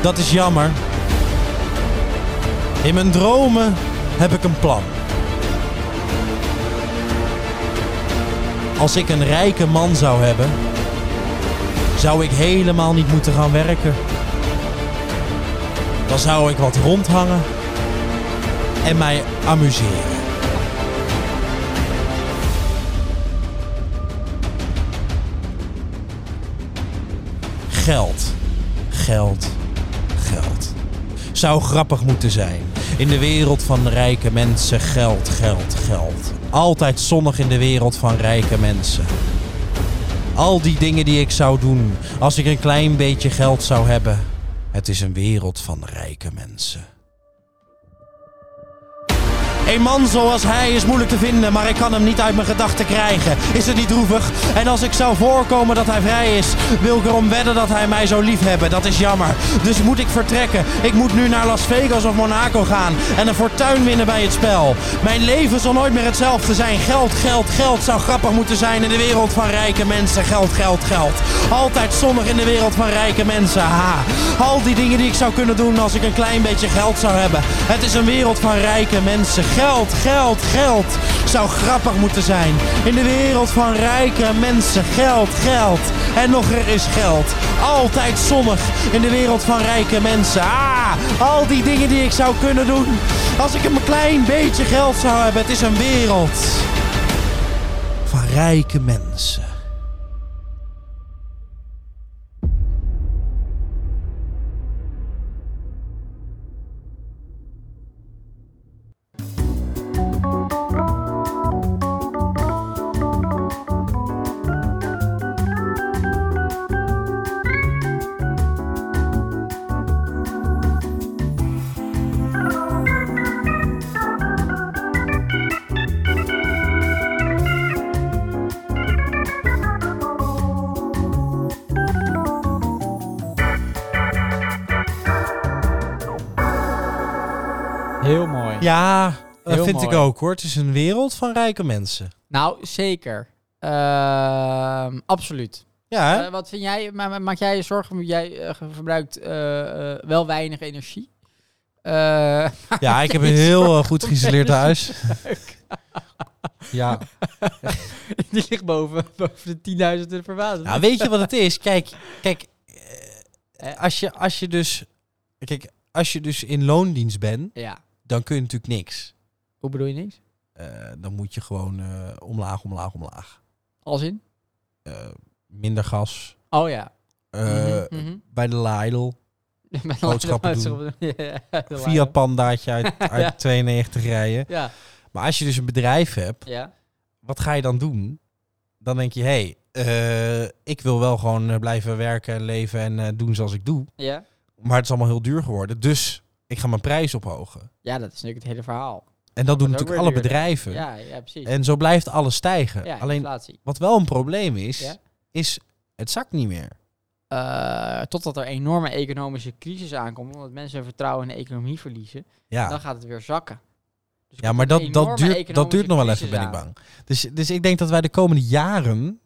[SPEAKER 1] Dat is jammer. In mijn dromen heb ik een plan. Als ik een rijke man zou hebben, zou ik helemaal niet moeten gaan werken. Dan zou ik wat rondhangen en mij amuseren. Geld, geld, geld. Zou grappig moeten zijn. In de wereld van rijke mensen geld, geld, geld. Altijd zonnig in de wereld van rijke mensen. Al die dingen die ik zou doen als ik een klein beetje geld zou hebben. Het is een wereld van rijke mensen. Een man zoals hij is moeilijk te vinden, maar ik kan hem niet uit mijn gedachten krijgen. Is het niet droevig? En als ik zou voorkomen dat hij vrij is, wil ik erom wedden dat hij mij zou liefhebben. Dat is jammer. Dus moet ik vertrekken. Ik moet nu naar Las Vegas of Monaco gaan en een fortuin winnen bij het spel. Mijn leven zal nooit meer hetzelfde zijn. Geld, geld, geld zou grappig moeten zijn in de wereld van rijke mensen. Geld, geld, geld. Altijd zonnig in de wereld van rijke mensen. Ha. Al die dingen die ik zou kunnen doen als ik een klein beetje geld zou hebben. Het is een wereld van rijke mensen. Geld, geld, geld zou grappig moeten zijn. In de wereld van rijke mensen. Geld, geld. En nog er is geld. Altijd zonnig in de wereld van rijke mensen. Ah, al die dingen die ik zou kunnen doen als ik een klein beetje geld zou hebben. Het is een wereld van rijke mensen.
[SPEAKER 2] Heel mooi.
[SPEAKER 1] Ja, dat
[SPEAKER 2] Heel
[SPEAKER 1] vind
[SPEAKER 2] mooi.
[SPEAKER 1] ik ook hoor. Het is een wereld van rijke mensen.
[SPEAKER 2] Nou, zeker. Ehm, absoluut.
[SPEAKER 1] Ja, hè?
[SPEAKER 2] Eh, wat vind jij, ma ma- maak jij je zorgen, jij eh, ge- verbruikt eh, eh, wel weinig energie? Eh,
[SPEAKER 1] ja ik heb
[SPEAKER 2] je
[SPEAKER 1] een heel eh, goed
[SPEAKER 2] om
[SPEAKER 1] geïsoleerd
[SPEAKER 2] mensen
[SPEAKER 1] huis. ja.
[SPEAKER 2] die ligt boven, boven de 10.000 verwaarde.
[SPEAKER 1] Nou, weet je wat het is? Kijk, kijk eh, als, je, als je dus... Kijk, als je dus in loondienst bent,
[SPEAKER 2] ja.
[SPEAKER 1] dan kun je natuurlijk niks.
[SPEAKER 2] Hoe bedoel je niks?
[SPEAKER 1] Eh, dan moet je gewoon eh, omlaag, omlaag, omlaag.
[SPEAKER 2] Als in?
[SPEAKER 1] Eh, minder gas.
[SPEAKER 2] Oh ja.
[SPEAKER 1] Eh,
[SPEAKER 2] Mhm, mhm.
[SPEAKER 1] Bij de Lidl.
[SPEAKER 2] Met een
[SPEAKER 1] boodschappen
[SPEAKER 2] laatste-
[SPEAKER 1] doen.
[SPEAKER 2] Ja, de
[SPEAKER 1] Via
[SPEAKER 2] laatste.
[SPEAKER 1] pandaatje uit, uit
[SPEAKER 2] Ja.
[SPEAKER 1] 92 rijden.
[SPEAKER 2] Ja,
[SPEAKER 1] Maar als je dus een bedrijf hebt,
[SPEAKER 2] ja.
[SPEAKER 1] wat ga je dan doen? Dan denk je, hé, hey, eh, ik wil wel gewoon eh, blijven werken en leven en eh, doen zoals ik doe.
[SPEAKER 2] ja.
[SPEAKER 1] Maar het is allemaal heel duur geworden. Dus ik ga mijn prijs ophogen.
[SPEAKER 2] Ja, dat is natuurlijk het hele verhaal.
[SPEAKER 1] En dat doen
[SPEAKER 2] ook
[SPEAKER 1] natuurlijk
[SPEAKER 2] weer
[SPEAKER 1] alle
[SPEAKER 2] duurder.
[SPEAKER 1] bedrijven.
[SPEAKER 2] Ja, ja precies.
[SPEAKER 1] En zo blijft alles stijgen.
[SPEAKER 2] ja,
[SPEAKER 1] Alleen
[SPEAKER 2] inflatie.
[SPEAKER 1] wat wel een probleem is,
[SPEAKER 2] Ja.
[SPEAKER 1] is het zakt niet meer.
[SPEAKER 2] Eh, totdat er een enorme economische crisis aankomt, omdat mensen hun vertrouwen in de economie verliezen.
[SPEAKER 1] Ja,
[SPEAKER 2] dan gaat het weer zakken. Dus er
[SPEAKER 1] ja
[SPEAKER 2] komt
[SPEAKER 1] maar
[SPEAKER 2] een
[SPEAKER 1] dat,
[SPEAKER 2] enorme
[SPEAKER 1] dat, duurt, dat
[SPEAKER 2] economische
[SPEAKER 1] duurt nog wel
[SPEAKER 2] crisis
[SPEAKER 1] even, ben ik
[SPEAKER 2] aan.
[SPEAKER 1] bang. Dus, dus ik denk dat wij de komende jaren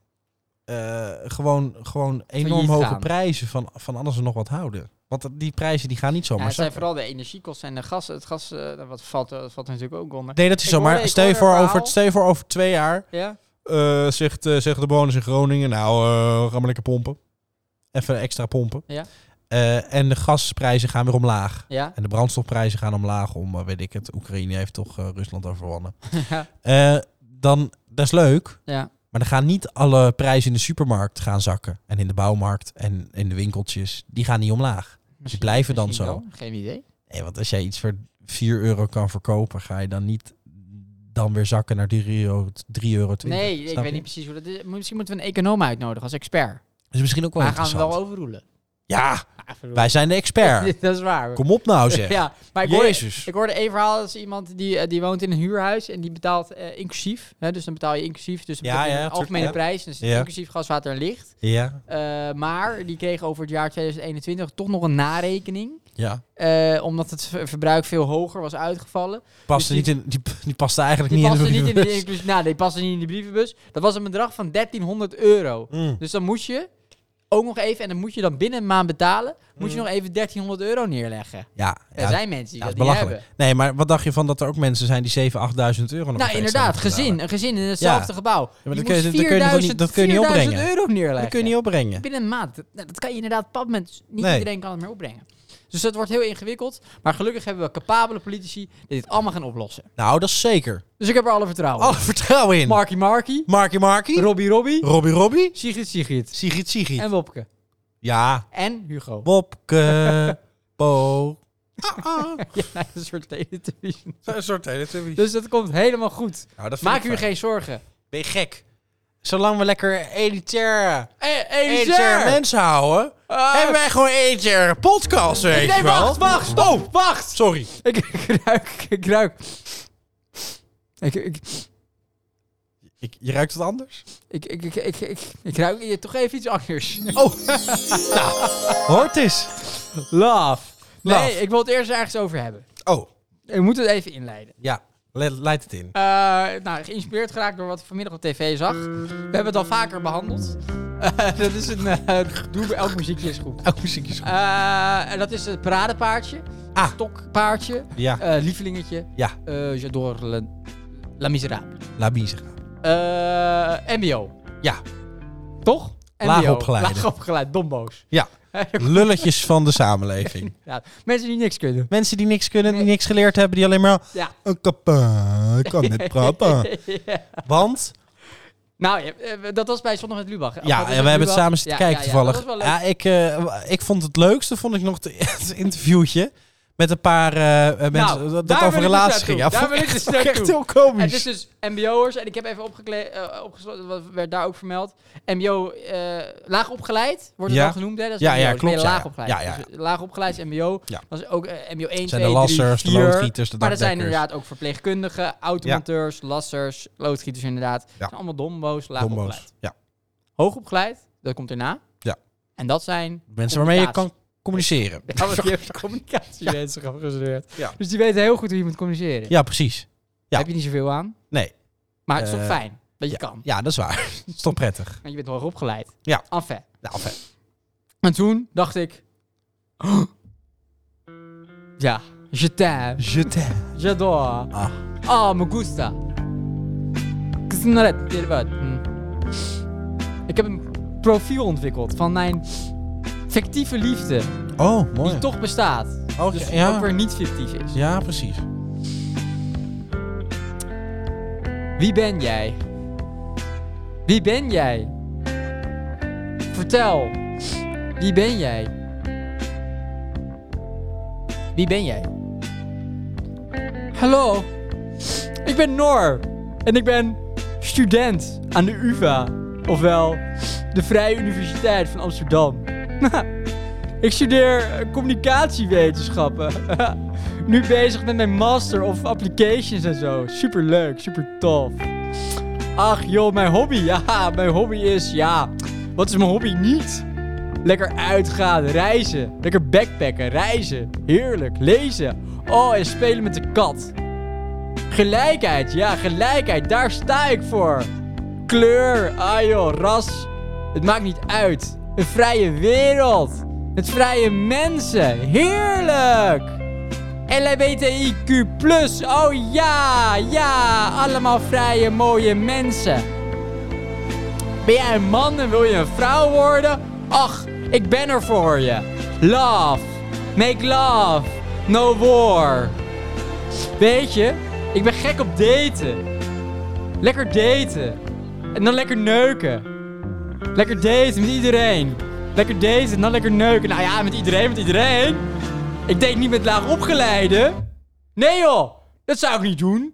[SPEAKER 1] eh, gewoon, gewoon enorm hoge
[SPEAKER 2] gaan.
[SPEAKER 1] prijzen van, van alles en nog wat houden. Want die prijzen die gaan niet
[SPEAKER 2] Ja,
[SPEAKER 1] zomaar
[SPEAKER 2] het zijn
[SPEAKER 1] zakken.
[SPEAKER 2] vooral de energiekosten en de gas. Het gas, eh, wat valt, eh, dat valt er natuurlijk ook onder.
[SPEAKER 1] Nee, dat is
[SPEAKER 2] Ik
[SPEAKER 1] zo. Maar
[SPEAKER 2] hoorde- ik
[SPEAKER 1] stel je,
[SPEAKER 2] hoorde
[SPEAKER 1] voor
[SPEAKER 2] een
[SPEAKER 1] over,
[SPEAKER 2] verhaal.
[SPEAKER 1] stel je voor over twee jaar
[SPEAKER 2] Ja?
[SPEAKER 1] eh, eh, zegt, eh, zeggen de bewoners in Groningen, nou, eh, we gaan maar lekker pompen. Even extra pompen.
[SPEAKER 2] Ja.
[SPEAKER 1] Eh, en de gasprijzen gaan weer omlaag.
[SPEAKER 2] Ja.
[SPEAKER 1] En de brandstofprijzen gaan omlaag om, eh, weet ik het, Oekraïne heeft toch eh, Rusland overwonnen.
[SPEAKER 2] ja.
[SPEAKER 1] Eh, dan, dat is leuk,
[SPEAKER 2] Ja.
[SPEAKER 1] maar dan gaan niet alle prijzen in de supermarkt gaan zakken. En in de bouwmarkt en in de winkeltjes, die gaan niet omlaag. Die blijven dan
[SPEAKER 2] Misschien
[SPEAKER 1] zo.
[SPEAKER 2] wel, Geen idee.
[SPEAKER 1] Nee, want als jij iets voor 4 euro kan verkopen, ga je dan niet dan weer zakken naar 3 euro. 3 euro
[SPEAKER 2] Nee, ik weet niet precies hoe dat is. Misschien moeten we een econoom uitnodigen als expert.
[SPEAKER 1] Dus misschien ook wel
[SPEAKER 2] Maar gaan we
[SPEAKER 1] interessant.
[SPEAKER 2] wel overroelen.
[SPEAKER 1] Ja,
[SPEAKER 2] Ah, verdorie.
[SPEAKER 1] wij zijn de expert.
[SPEAKER 2] dat is waar.
[SPEAKER 1] Kom op nou zeg.
[SPEAKER 2] Ja, maar ik hoorde,
[SPEAKER 1] Jezus.
[SPEAKER 2] ik hoorde één verhaal als iemand die, eh, die woont in een huurhuis en die betaalt eh, inclusief. Hè, dus dan betaal je inclusief. Dus
[SPEAKER 1] Ja,
[SPEAKER 2] ja,
[SPEAKER 1] ja,
[SPEAKER 2] ja,
[SPEAKER 1] tuurlijk,
[SPEAKER 2] algemene
[SPEAKER 1] ja.
[SPEAKER 2] prijs. Dus
[SPEAKER 1] Ja.
[SPEAKER 2] inclusief gas, water en licht.
[SPEAKER 1] Ja,
[SPEAKER 2] Eh, maar die kreeg over het jaar 2021 toch nog een narekening.
[SPEAKER 1] ja.
[SPEAKER 2] eh, omdat het ver- verbruik veel hoger was uitgevallen.
[SPEAKER 1] Paste
[SPEAKER 2] Dus
[SPEAKER 1] niet in, die, die paste eigenlijk
[SPEAKER 2] Die
[SPEAKER 1] niet
[SPEAKER 2] paste
[SPEAKER 1] in de
[SPEAKER 2] niet in de
[SPEAKER 1] brievenbus.
[SPEAKER 2] inclusief. Nou, die paste niet in de brievenbus. Dat was een bedrag van 1300 euro.
[SPEAKER 1] Mm.
[SPEAKER 2] Dus dan moest je ook nog even, en dan moet je dan binnen een maand betalen, moet je nog even 1300 euro neerleggen.
[SPEAKER 1] Ja,
[SPEAKER 2] Er
[SPEAKER 1] Hmm. ja,
[SPEAKER 2] zijn mensen die
[SPEAKER 1] ja, dat
[SPEAKER 2] dat,
[SPEAKER 1] is
[SPEAKER 2] niet
[SPEAKER 1] belachelijk.
[SPEAKER 2] hebben.
[SPEAKER 1] Nee, maar wat dacht je van dat er ook mensen zijn die 7, 8000 euro nog
[SPEAKER 2] Nou,
[SPEAKER 1] steeds
[SPEAKER 2] inderdaad,
[SPEAKER 1] hebben gedaan?
[SPEAKER 2] gezin. Een gezin in hetzelfde gebouw.
[SPEAKER 1] maar dat
[SPEAKER 2] Die
[SPEAKER 1] kun je-
[SPEAKER 2] moest
[SPEAKER 1] dat kun je toch niet-
[SPEAKER 2] 4000
[SPEAKER 1] dat kun je niet
[SPEAKER 2] 4000
[SPEAKER 1] opbrengen?
[SPEAKER 2] euro neerleggen.
[SPEAKER 1] Dat kun je niet opbrengen.
[SPEAKER 2] Binnen een maand. Dat, nou, dat kan je inderdaad op dat moment. dus Niet
[SPEAKER 1] Nee.
[SPEAKER 2] iedereen kan het meer opbrengen. Dus dat wordt heel ingewikkeld. Maar gelukkig hebben we capabele politici die dit allemaal gaan oplossen.
[SPEAKER 1] Nou, dat is zeker.
[SPEAKER 2] Dus ik heb er alle vertrouwen
[SPEAKER 1] Alle
[SPEAKER 2] in.
[SPEAKER 1] vertrouwen in.
[SPEAKER 2] Marky Marky,
[SPEAKER 1] Marky Marky.
[SPEAKER 2] Robbie Robbie,
[SPEAKER 1] Robbie Robbie.
[SPEAKER 2] Sigrid Sigrid
[SPEAKER 1] Sigrid Sigrid.
[SPEAKER 2] en Wopke.
[SPEAKER 1] Ja.
[SPEAKER 2] En Hugo.
[SPEAKER 1] Bobke. Bo.
[SPEAKER 2] Ah, Ja, een soort televisie.
[SPEAKER 1] Een soort televisie.
[SPEAKER 2] Dus dat komt helemaal goed.
[SPEAKER 1] Nou, dat vind
[SPEAKER 2] Maak
[SPEAKER 1] ik
[SPEAKER 2] u
[SPEAKER 1] fijn.
[SPEAKER 2] geen zorgen.
[SPEAKER 1] Ben je gek? Zolang we lekker elitair,
[SPEAKER 2] Hey, hey,
[SPEAKER 1] elitair
[SPEAKER 2] sir.
[SPEAKER 1] mensen houden,
[SPEAKER 2] Ah.
[SPEAKER 1] hebben wij gewoon elitair podcast, weet
[SPEAKER 2] Nee,
[SPEAKER 1] je wel.
[SPEAKER 2] wacht, wacht, stop, Oh, wacht.
[SPEAKER 1] Sorry.
[SPEAKER 2] Ik, ik ruik, ik ruik. Ik, ik,
[SPEAKER 1] Ik, je ruikt het anders?
[SPEAKER 2] ik, ik, ik, ik, ik, ik ruik hier toch even iets anders.
[SPEAKER 1] Oh, hoort eens.
[SPEAKER 2] Love. Nee,
[SPEAKER 1] Love.
[SPEAKER 2] ik wil het eerst ergens over hebben.
[SPEAKER 1] Oh,
[SPEAKER 2] Ik moet het even inleiden.
[SPEAKER 1] ja. Le- Leid het in.
[SPEAKER 2] Eh, nou, geïnspireerd geraakt door wat ik vanmiddag op tv zag. We hebben het al vaker behandeld. Eh, dat is een... eh doe bij elk muziekje is goed.
[SPEAKER 1] Oh, muziekjes.
[SPEAKER 2] Eh, en dat is het paradepaardje.
[SPEAKER 1] Ah.
[SPEAKER 2] Stokpaardje.
[SPEAKER 1] Ja,
[SPEAKER 2] eh, lievelingetje.
[SPEAKER 1] Ja.
[SPEAKER 2] Eh, J'adore la, la Miserable.
[SPEAKER 1] La Bizera.
[SPEAKER 2] Eh, MBO.
[SPEAKER 1] Ja.
[SPEAKER 2] Toch? MBO.
[SPEAKER 1] Laagopgeleide.
[SPEAKER 2] Laagopgeleid, dombo's.
[SPEAKER 1] Ja. Lulletjes van de samenleving.
[SPEAKER 2] Ja, mensen die niks kunnen.
[SPEAKER 1] Mensen die niks kunnen, die niks geleerd hebben, die alleen maar...
[SPEAKER 2] Ja.
[SPEAKER 1] Een kappa, ik kan met praten. Want
[SPEAKER 2] Nou, ja, eh, dat was bij Zondag met Lubach. hè? Of
[SPEAKER 1] Ja,
[SPEAKER 2] wat is
[SPEAKER 1] en we hebben het
[SPEAKER 2] Lubach?
[SPEAKER 1] samen zitten
[SPEAKER 2] Ja,
[SPEAKER 1] kijken
[SPEAKER 2] ja, ja, dat
[SPEAKER 1] toevallig.
[SPEAKER 2] was wel leuk.
[SPEAKER 1] Ja, ik, eh, ik vond het leukste vond ik nog de- het interviewtje met een paar eh, eh, mensen
[SPEAKER 2] Nou,
[SPEAKER 1] dat,
[SPEAKER 2] daar
[SPEAKER 1] dat
[SPEAKER 2] wil
[SPEAKER 1] over
[SPEAKER 2] ik dus
[SPEAKER 1] relaties
[SPEAKER 2] naartoe.
[SPEAKER 1] ging. Ja,
[SPEAKER 2] Daar
[SPEAKER 1] vond
[SPEAKER 2] wil
[SPEAKER 1] ik
[SPEAKER 2] ik dus
[SPEAKER 1] echt, vond ik echt
[SPEAKER 2] naartoe.
[SPEAKER 1] heel komisch.
[SPEAKER 2] Het is dus MBO'ers, en ik heb even opgekle- eh, opgesloten, wat werd daar ook vermeld. MBO, eh, laag opgeleid, wordt het
[SPEAKER 1] Ja.
[SPEAKER 2] dan genoemd, hè? Dat is
[SPEAKER 1] Ja,
[SPEAKER 2] MBO,
[SPEAKER 1] ja,
[SPEAKER 2] dus ben
[SPEAKER 1] klopt,
[SPEAKER 2] je
[SPEAKER 1] ja,
[SPEAKER 2] laag
[SPEAKER 1] ja.
[SPEAKER 2] opgeleid.
[SPEAKER 1] Ja, ja, ja.
[SPEAKER 2] Dus laag opgeleid is MBO,
[SPEAKER 1] Ja.
[SPEAKER 2] dat is ook eh, MBO 1,
[SPEAKER 1] zijn
[SPEAKER 2] 2,
[SPEAKER 1] de lassers,
[SPEAKER 2] 3,
[SPEAKER 1] de
[SPEAKER 2] 4.
[SPEAKER 1] loodgieters, de
[SPEAKER 2] maar er zijn
[SPEAKER 1] dakdekkers.
[SPEAKER 2] inderdaad ook verpleegkundigen, automonteurs, lassers, loodgieters inderdaad. Dat zijn allemaal dombo's, laag
[SPEAKER 1] Dombo's.
[SPEAKER 2] opgeleid.
[SPEAKER 1] Ja.
[SPEAKER 2] Hoog opgeleid, dat komt erna.
[SPEAKER 1] Ja.
[SPEAKER 2] En dat zijn...
[SPEAKER 1] Mensen waarmee je kan
[SPEAKER 2] Communicatie.
[SPEAKER 1] communiceren.
[SPEAKER 2] Ja, want die hebben communicatiewetenschap gestudeerd.
[SPEAKER 1] Ja.
[SPEAKER 2] Dus die weten heel goed hoe je moet communiceren.
[SPEAKER 1] Ja, precies. Ja.
[SPEAKER 2] Heb je niet zoveel aan.
[SPEAKER 1] Nee,
[SPEAKER 2] Maar het is toch
[SPEAKER 1] Eh,
[SPEAKER 2] fijn dat je kan.
[SPEAKER 1] ja, dat is waar. Het is toch prettig.
[SPEAKER 2] Want je bent hoger opgeleid.
[SPEAKER 1] Ja.
[SPEAKER 2] Enfin.
[SPEAKER 1] Nou, enfin,
[SPEAKER 2] En toen dacht ik... "Oh." ja. Je t'aime.
[SPEAKER 1] je t'aime.
[SPEAKER 2] J'adore.
[SPEAKER 1] Ah.
[SPEAKER 2] Ah, me gusta. Que se não é ter wat. Hm. Ik heb een profiel ontwikkeld van mijn fictieve liefde.
[SPEAKER 1] Oh, mooi.
[SPEAKER 2] Die toch bestaat.
[SPEAKER 1] Oh,
[SPEAKER 2] Dus
[SPEAKER 1] ja.
[SPEAKER 2] ook weer niet fictief is.
[SPEAKER 1] ja, precies.
[SPEAKER 2] Wie ben jij? Wie ben jij? Vertel. Wie ben jij? Wie ben jij? Hallo. Ik ben Noor. En ik ben student aan de UvA. Ofwel, de Vrije Universiteit van Amsterdam. ik studeer eh, communicatiewetenschappen. nu bezig met mijn master of applications en zo. Super leuk, super tof. Ach joh, mijn hobby. Ja, mijn hobby is ja. Wat is mijn hobby niet? Lekker uitgaan, reizen. Lekker backpacken, reizen. Heerlijk, lezen. Oh, en spelen met de kat. Gelijkheid, ja, gelijkheid. Daar sta ik voor. Kleur, ah joh, ras. Het maakt niet uit. Een vrije wereld. Met vrije mensen. Heerlijk. LHBTIQ+. Oh ja, ja, allemaal vrije mooie mensen. Ben jij een man en wil je een vrouw worden? Ach, ik ben er voor je. Love. Make love. No war. Weet je, ik ben gek op daten. Lekker daten. En dan lekker neuken. Lekker daten met iedereen. Lekker daten en dan lekker neuken. Nou ja, met iedereen, met iedereen. Ik date niet met laag opgeleiden. Nee joh, dat zou ik niet doen.